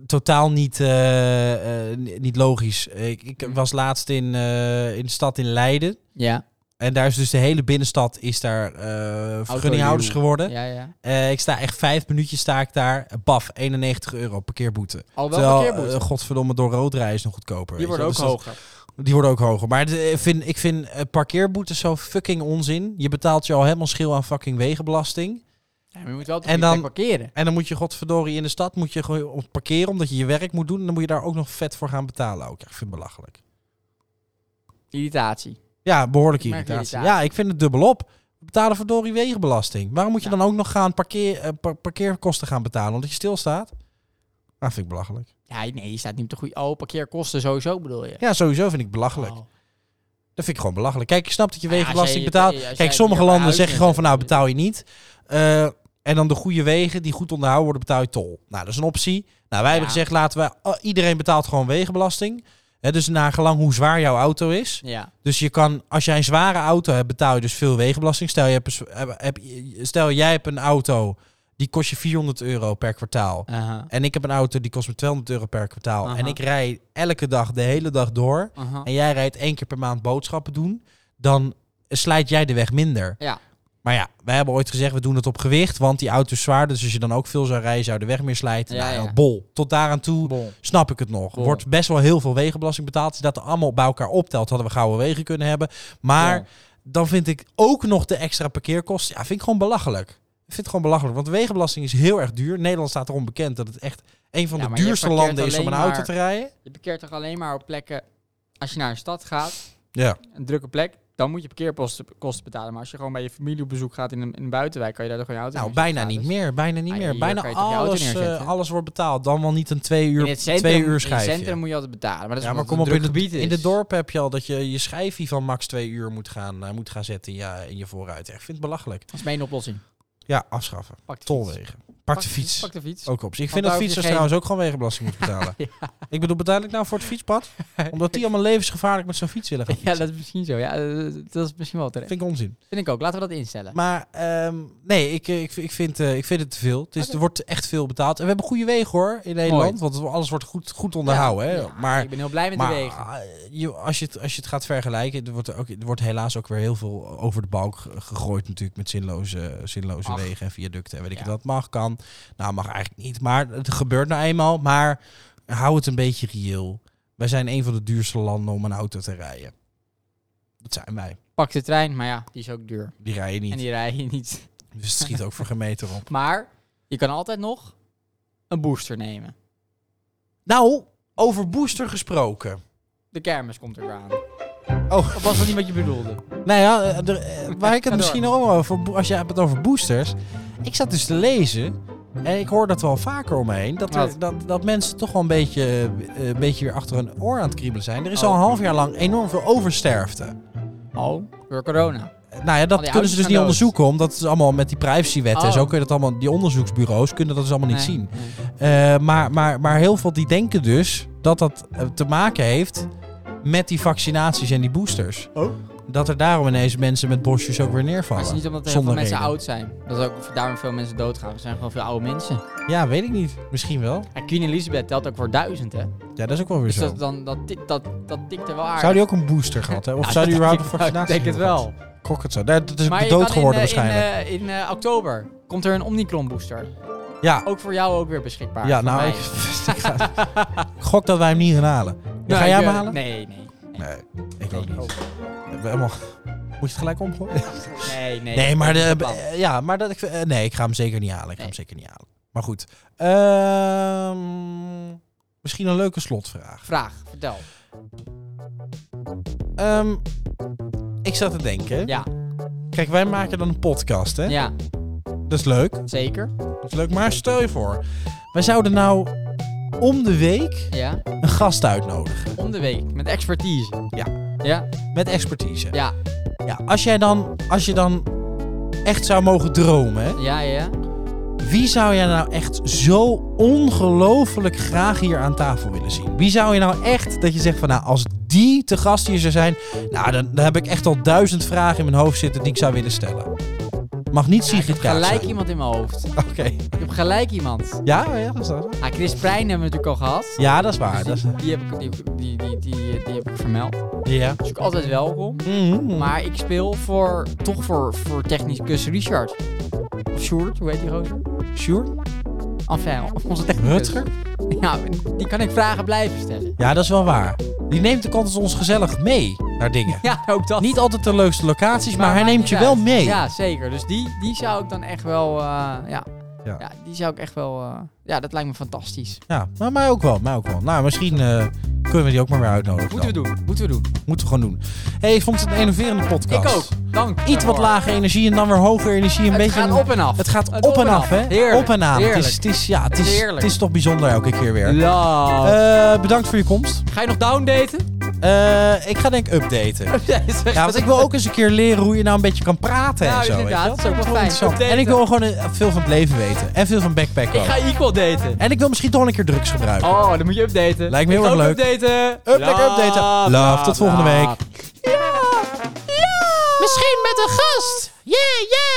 [SPEAKER 1] totaal niet, eh, eh, niet logisch. Ik, ik
[SPEAKER 2] Mm.
[SPEAKER 1] was laatst in, eh, in de stad in Leiden.
[SPEAKER 2] Ja,
[SPEAKER 1] En daar is dus de hele binnenstad is daar eh vergunninghouders geworden.
[SPEAKER 2] ja, ja.
[SPEAKER 1] Eh, ik sta echt vijf minuutjes sta ik daar. Eh, Baf, 91 euro parkeerboete.
[SPEAKER 2] Al wel
[SPEAKER 1] Terwijl,
[SPEAKER 2] parkeerboete.
[SPEAKER 1] eh, godverdomme, door rood rijden is nog goedkoper.
[SPEAKER 2] die
[SPEAKER 1] weet je
[SPEAKER 2] worden ook
[SPEAKER 1] wel. Dus dat-
[SPEAKER 2] hoger.
[SPEAKER 1] Die worden ook hoger. Maar de- ik vind, ik vind eh, parkeerboetes zo fucking onzin. Je betaalt je al helemaal schil aan fucking wegenbelasting.
[SPEAKER 2] Ja, maar je moet wel op de
[SPEAKER 1] En
[SPEAKER 2] goede
[SPEAKER 1] dan-
[SPEAKER 2] plek parkeren.
[SPEAKER 1] En dan moet je godverdorie in de stad moet je gewoon op parkeren omdat je je werk moet doen. En dan moet je daar ook nog vet voor gaan betalen. Ook. Ja, ik vind het belachelijk.
[SPEAKER 2] Irritatie.
[SPEAKER 1] Ja, behoorlijke
[SPEAKER 2] Ik merk
[SPEAKER 1] irritatie.
[SPEAKER 2] irritatie.
[SPEAKER 1] Ja, ik vind het dubbelop. We betalen verdorie wegenbelasting. Waarom moet je
[SPEAKER 2] Ja.
[SPEAKER 1] dan ook nog gaan parkeer, eh, par- parkeerkosten gaan betalen omdat je stilstaat? Dat vind ik belachelijk.
[SPEAKER 2] Ja, nee, je staat niet op de goede... Oh, parkeerkosten sowieso bedoel je?
[SPEAKER 1] Ja, sowieso vind ik belachelijk.
[SPEAKER 2] Oh.
[SPEAKER 1] Dat vind ik gewoon belachelijk. Kijk, ik snap dat je
[SPEAKER 2] Maar ja,
[SPEAKER 1] wegenbelasting
[SPEAKER 2] als jij-
[SPEAKER 1] betaalt.
[SPEAKER 2] als jij
[SPEAKER 1] Kijk,
[SPEAKER 2] hier
[SPEAKER 1] sommige
[SPEAKER 2] bij
[SPEAKER 1] landen
[SPEAKER 2] huis
[SPEAKER 1] zeggen gewoon
[SPEAKER 2] bent,
[SPEAKER 1] van nou
[SPEAKER 2] dan-
[SPEAKER 1] betaal je niet. Eh, en dan de goede wegen die goed onderhouden worden, betaal je tol. Nou, dat is een optie. Nou, wij hebben
[SPEAKER 2] Ja.
[SPEAKER 1] gezegd laten we, ah, iedereen betaalt gewoon wegenbelasting. Hè, dus naar gelang hoe zwaar jouw auto is.
[SPEAKER 2] Ja.
[SPEAKER 1] Dus je kan, als jij een zware auto hebt, betaal je dus veel wegenbelasting. Stel, je hebt een, zwa- heb- heb- stel jij hebt een auto die kost je 400 euro per kwartaal.
[SPEAKER 2] Aha.
[SPEAKER 1] En ik heb een auto die kost me 200 euro per kwartaal.
[SPEAKER 2] Aha.
[SPEAKER 1] En ik rij elke dag, de hele dag door
[SPEAKER 2] Aha.
[SPEAKER 1] en jij rijdt één keer per maand boodschappen doen, dan slijt jij de weg minder.
[SPEAKER 2] Ja.
[SPEAKER 1] Maar ja, wij hebben ooit gezegd, we doen het op gewicht, want die auto is zwaar. Dus als je dan ook veel zou rijden, zou de weg meer slijten.
[SPEAKER 2] Ja,
[SPEAKER 1] nou,
[SPEAKER 2] ja.
[SPEAKER 1] bol. Tot daaraan toe
[SPEAKER 2] Bon.
[SPEAKER 1] snap ik het nog.
[SPEAKER 2] Bol.
[SPEAKER 1] Wordt best wel heel veel wegenbelasting betaald. Als je dat allemaal bij elkaar optelt, hadden we gouden wegen kunnen hebben. Maar
[SPEAKER 2] Bon.
[SPEAKER 1] dan vind ik ook nog de extra parkeerkosten. Ja, vind ik gewoon belachelijk. Ik vind het gewoon belachelijk, want wegenbelasting is heel erg duur. Nederland staat erom bekend dat het echt een van
[SPEAKER 2] Ja,
[SPEAKER 1] de
[SPEAKER 2] maar je
[SPEAKER 1] duurste
[SPEAKER 2] parkeert
[SPEAKER 1] landen is om een
[SPEAKER 2] alleen
[SPEAKER 1] auto
[SPEAKER 2] maar-
[SPEAKER 1] te rijden.
[SPEAKER 2] Je parkeert toch alleen maar op plekken... Als je naar een stad gaat,
[SPEAKER 1] Ja.
[SPEAKER 2] een drukke plek, dan moet je parkeerkosten kosten betalen. Maar als je gewoon bij je familie op bezoek gaat in een, in een buitenwijk, kan je daar toch gewoon je auto
[SPEAKER 1] Nou,
[SPEAKER 2] neerzetten
[SPEAKER 1] bijna niet
[SPEAKER 2] gratis?
[SPEAKER 1] meer. Bijna niet
[SPEAKER 2] Ah,
[SPEAKER 1] meer.
[SPEAKER 2] hier
[SPEAKER 1] Bijna
[SPEAKER 2] kan je toch je auto
[SPEAKER 1] alles, eh,
[SPEAKER 2] neerzetten?
[SPEAKER 1] alles wordt betaald. Dan wel niet een twee uur,
[SPEAKER 2] Dus In het centrum,
[SPEAKER 1] twee uur
[SPEAKER 2] in het
[SPEAKER 1] schijfje.
[SPEAKER 2] centrum moet je altijd betalen. Maar dat is
[SPEAKER 1] ja, maar
[SPEAKER 2] omdat
[SPEAKER 1] kom
[SPEAKER 2] het
[SPEAKER 1] op, in
[SPEAKER 2] een druk
[SPEAKER 1] het,
[SPEAKER 2] gebied
[SPEAKER 1] in het
[SPEAKER 2] is.
[SPEAKER 1] dorp heb je al dat je je schijfje van max twee uur moet gaan, eh, moet gaan zetten ja, in je vooruit. Ik vind het belachelijk.
[SPEAKER 2] Dat is mijn oplossing.
[SPEAKER 1] Ja, afschaffen.
[SPEAKER 2] Pak de fiets.
[SPEAKER 1] Tolwegen. Pak de fiets.
[SPEAKER 2] Pak de fiets.
[SPEAKER 1] Ook op. Ik
[SPEAKER 2] Want
[SPEAKER 1] vind
[SPEAKER 2] daar
[SPEAKER 1] dat
[SPEAKER 2] hoef je
[SPEAKER 1] fietsers
[SPEAKER 2] geen-
[SPEAKER 1] trouwens ook gewoon wegenbelasting moeten betalen. Ik bedoel, betaal ik nou voor het fietspad? Omdat die allemaal levensgevaarlijk met zo'n fiets willen gaan
[SPEAKER 2] Ja,
[SPEAKER 1] fietsen.
[SPEAKER 2] dat is misschien zo. Ja, dat- dat is misschien wel terecht.
[SPEAKER 1] vind ik onzin.
[SPEAKER 2] Vind ik ook. Laten we dat instellen.
[SPEAKER 1] Maar ehm, nee, ik, eh, ik, ik, vind, eh, ik vind het te veel. Het is, Er wordt echt veel betaald. En we hebben goede wegen hoor in Nederland. Want alles wordt goed, goed onderhouden. hè.
[SPEAKER 2] Ja,
[SPEAKER 1] maar
[SPEAKER 2] ik ben heel blij met
[SPEAKER 1] maar
[SPEAKER 2] de wegen.
[SPEAKER 1] eh, je- als, je het, als je het gaat vergelijken, er wordt, er ook, er wordt helaas ook weer heel veel over de balk ge- gegooid natuurlijk. Met zinloze, zinloze
[SPEAKER 2] Ach.
[SPEAKER 1] wegen en viaducten en weet ik
[SPEAKER 2] Ja.
[SPEAKER 1] het wat. Mag, kan. Nou, mag eigenlijk niet. Maar het gebeurt nou eenmaal. Maar hou het een beetje reëel. Wij zijn een van de duurste landen om een auto te rijden. Dat zijn wij.
[SPEAKER 2] Pak de trein, maar ja, die is ook duur.
[SPEAKER 1] Die rijden niet.
[SPEAKER 2] En die rij je niet.
[SPEAKER 1] Dus het schiet ook voor gemeten op.
[SPEAKER 2] Maar je kan altijd nog een booster nemen.
[SPEAKER 1] Nou, over booster gesproken.
[SPEAKER 2] De kermis komt er weer aan.
[SPEAKER 1] Oh.
[SPEAKER 2] Of was dat niet wat je bedoelde?
[SPEAKER 1] Nou ja, eh, er, eh, waar ik
[SPEAKER 2] Ga
[SPEAKER 1] het misschien ook wel over, bo- als je hebt het over boosters. Ik zat dus te lezen en ik hoor dat wel vaker omheen. Dat, er,
[SPEAKER 2] Wat?
[SPEAKER 1] dat, dat mensen toch wel een beetje, eh, een beetje weer achter hun oor aan het kriebelen zijn. Er is al
[SPEAKER 2] Oh.
[SPEAKER 1] een half jaar lang enorm veel oversterfte.
[SPEAKER 2] Oh, door corona.
[SPEAKER 1] Eh, Nou ja,
[SPEAKER 2] Oh, die
[SPEAKER 1] dat kunnen
[SPEAKER 2] auto's
[SPEAKER 1] ze dus
[SPEAKER 2] gaan
[SPEAKER 1] niet
[SPEAKER 2] dood.
[SPEAKER 1] onderzoeken, omdat het is allemaal met die privacywetten en
[SPEAKER 2] Oh.
[SPEAKER 1] zo kun je dat allemaal, die onderzoeksbureaus kunnen dat dus allemaal niet
[SPEAKER 2] Nee,
[SPEAKER 1] zien.
[SPEAKER 2] nee.
[SPEAKER 1] Eh, maar, maar, maar heel veel die denken dus dat dat eh, te maken heeft met die vaccinaties en die boosters.
[SPEAKER 2] Oh.
[SPEAKER 1] Dat er daarom ineens mensen met borstjes ook weer
[SPEAKER 2] Maar
[SPEAKER 1] neervallen.
[SPEAKER 2] het is niet omdat er heel
[SPEAKER 1] Zonder
[SPEAKER 2] veel mensen
[SPEAKER 1] reden.
[SPEAKER 2] oud zijn. Dat is ook of daarom veel mensen doodgaan. We zijn gewoon veel oude mensen.
[SPEAKER 1] Ja, weet ik niet. Misschien wel.
[SPEAKER 2] En Queen Elizabeth telt ook voor duizend, hè?
[SPEAKER 1] Ja, dat is ook wel weer
[SPEAKER 2] Dus
[SPEAKER 1] zo.
[SPEAKER 2] dat, dan, dat, tikt- dat, dat tikt er wel aardig.
[SPEAKER 1] Zou die ook een booster gehad hebben? Of zou die überhaupt een
[SPEAKER 2] Ik
[SPEAKER 1] vaccinatie
[SPEAKER 2] denk het
[SPEAKER 1] hebben
[SPEAKER 2] wel.
[SPEAKER 1] gehad? Gok het zo. Nee, Dat is
[SPEAKER 2] Maar je
[SPEAKER 1] dood
[SPEAKER 2] kan in,
[SPEAKER 1] geworden
[SPEAKER 2] eh, in,
[SPEAKER 1] waarschijnlijk.
[SPEAKER 2] eh, In, eh, oktober komt er een Omnicron booster.
[SPEAKER 1] ja,
[SPEAKER 2] Ook voor jou ook weer beschikbaar.
[SPEAKER 1] ja
[SPEAKER 2] Voor
[SPEAKER 1] nou,
[SPEAKER 2] mij.
[SPEAKER 1] ik, ik ga- ik gok dat wij hem niet gaan halen. Ja,
[SPEAKER 2] Nee,
[SPEAKER 1] ga jij
[SPEAKER 2] ik,
[SPEAKER 1] hem
[SPEAKER 2] eh,
[SPEAKER 1] halen?
[SPEAKER 2] Nee, nee.
[SPEAKER 1] Nee, ik ook
[SPEAKER 2] Oh.
[SPEAKER 1] niet. We hebben helemaal- Moet je het gelijk omgooien?
[SPEAKER 2] Nee, nee.
[SPEAKER 1] Nee,
[SPEAKER 2] dat
[SPEAKER 1] maar,
[SPEAKER 2] is
[SPEAKER 1] de,
[SPEAKER 2] het plan.
[SPEAKER 1] eh, ja, maar dat ik, eh, nee, ik ga hem zeker niet halen. Ik ga
[SPEAKER 2] Nee.
[SPEAKER 1] hem zeker niet halen. Maar goed. Ehm, misschien een leuke slotvraag.
[SPEAKER 2] Vraag, vertel.
[SPEAKER 1] Ehm, ik zat te denken.
[SPEAKER 2] Ja,
[SPEAKER 1] Kijk, wij maken dan een podcast, hè?
[SPEAKER 2] ja
[SPEAKER 1] Dat is leuk.
[SPEAKER 2] zeker.
[SPEAKER 1] Dat is leuk. Maar stel je voor, wij zouden nou om de week
[SPEAKER 2] Ja.
[SPEAKER 1] een gast uitnodigen.
[SPEAKER 2] Om de week, met expertise.
[SPEAKER 1] Ja.
[SPEAKER 2] Ja,
[SPEAKER 1] Met expertise.
[SPEAKER 2] ja,
[SPEAKER 1] Ja, als jij dan, als je dan echt zou mogen dromen, hè?
[SPEAKER 2] ja, ja.
[SPEAKER 1] Wie zou jij nou echt zo ongelooflijk graag hier aan tafel willen zien? Wie zou je nou echt dat je zegt van nou, als die te gast hier zou zijn, nou dan, dan heb ik echt al duizend vragen in mijn hoofd zitten die ik zou willen stellen. Mag niet Sigrid Kaag
[SPEAKER 2] Gelijk
[SPEAKER 1] zijn.
[SPEAKER 2] iemand in mijn hoofd.
[SPEAKER 1] Oké.
[SPEAKER 2] Ik heb gelijk iemand.
[SPEAKER 1] Ja, oh ja, dat is waar.
[SPEAKER 2] Ah, Chris Prijn hebben we natuurlijk al gehad.
[SPEAKER 1] Ja, dat is waar.
[SPEAKER 2] Dus
[SPEAKER 1] Dat is,
[SPEAKER 2] die, die, heb ik, die, die, die, die, die heb ik vermeld. Dat
[SPEAKER 1] ja.
[SPEAKER 2] is ook altijd welkom.
[SPEAKER 1] Mhm.
[SPEAKER 2] Maar ik speel voor, toch voor, voor technicus Richard. Of Sjoerd, hoe heet die gozer?
[SPEAKER 1] Sjoerd?
[SPEAKER 2] Enfin, onze technicus.
[SPEAKER 1] Rutger?
[SPEAKER 2] Ja, die kan ik vragen blijven stellen.
[SPEAKER 1] Ja, dat is wel waar. Die neemt ook altijd ons gezellig mee naar dingen.
[SPEAKER 2] Ja, ook dat.
[SPEAKER 1] Niet altijd de leukste locaties, maar, hij
[SPEAKER 2] maakt
[SPEAKER 1] neemt je
[SPEAKER 2] niet
[SPEAKER 1] wel
[SPEAKER 2] uit.
[SPEAKER 1] mee.
[SPEAKER 2] Ja, zeker. Dus die, die zou ik dan echt wel... eh, ja.
[SPEAKER 1] Ja.
[SPEAKER 2] Ja. die zou ik echt wel... eh, ja, dat lijkt me fantastisch.
[SPEAKER 1] Ja, maar mij ook wel, mij ook wel. Nou, misschien eh, kunnen we die ook maar weer uitnodigen.
[SPEAKER 2] Moeten we
[SPEAKER 1] dan.
[SPEAKER 2] doen. Moeten we doen.
[SPEAKER 1] Moeten we gewoon doen. hey, ik vond het een innoverende podcast.
[SPEAKER 2] Ik ook. Dank.
[SPEAKER 1] Iets wat
[SPEAKER 2] daarvoor.
[SPEAKER 1] lage energie en dan weer hoge energie. Een
[SPEAKER 2] Het
[SPEAKER 1] beetje
[SPEAKER 2] gaat op en af.
[SPEAKER 1] Het gaat op, en af, hè?
[SPEAKER 2] Heerlijk.
[SPEAKER 1] Op en aan. Het is,
[SPEAKER 2] Heerlijk.
[SPEAKER 1] het, is, ja, het, is,
[SPEAKER 2] Heerlijk.
[SPEAKER 1] het is toch bijzonder elke keer weer.
[SPEAKER 2] Ja.
[SPEAKER 1] Eh, bedankt voor je komst.
[SPEAKER 2] Ga je nog downdaten?
[SPEAKER 1] Eh, ik ga denk ik updaten.
[SPEAKER 2] Ja, is echt-
[SPEAKER 1] Ja, want ik wil ook eens een keer leren hoe je nou een beetje kan praten
[SPEAKER 2] Nou,
[SPEAKER 1] en zo.
[SPEAKER 2] inderdaad,
[SPEAKER 1] weet je
[SPEAKER 2] dat is ook wel fijn.
[SPEAKER 1] interessant. En ik wil gewoon eh, veel van het leven weten. En veel van backpack
[SPEAKER 2] Ik
[SPEAKER 1] ook.
[SPEAKER 2] ga equal daten.
[SPEAKER 1] En ik wil misschien toch een keer drugs gebruiken.
[SPEAKER 2] Oh, dan moet je updaten.
[SPEAKER 1] Lijkt me
[SPEAKER 2] Ik
[SPEAKER 1] heel
[SPEAKER 2] ga
[SPEAKER 1] erg
[SPEAKER 2] ook Updaten.
[SPEAKER 1] Up, lekker updaten.
[SPEAKER 2] Laat,
[SPEAKER 1] Love, tot
[SPEAKER 2] laat,
[SPEAKER 1] volgende
[SPEAKER 2] laat.
[SPEAKER 1] week.
[SPEAKER 8] Misschien met een gast. Yeah, yeah.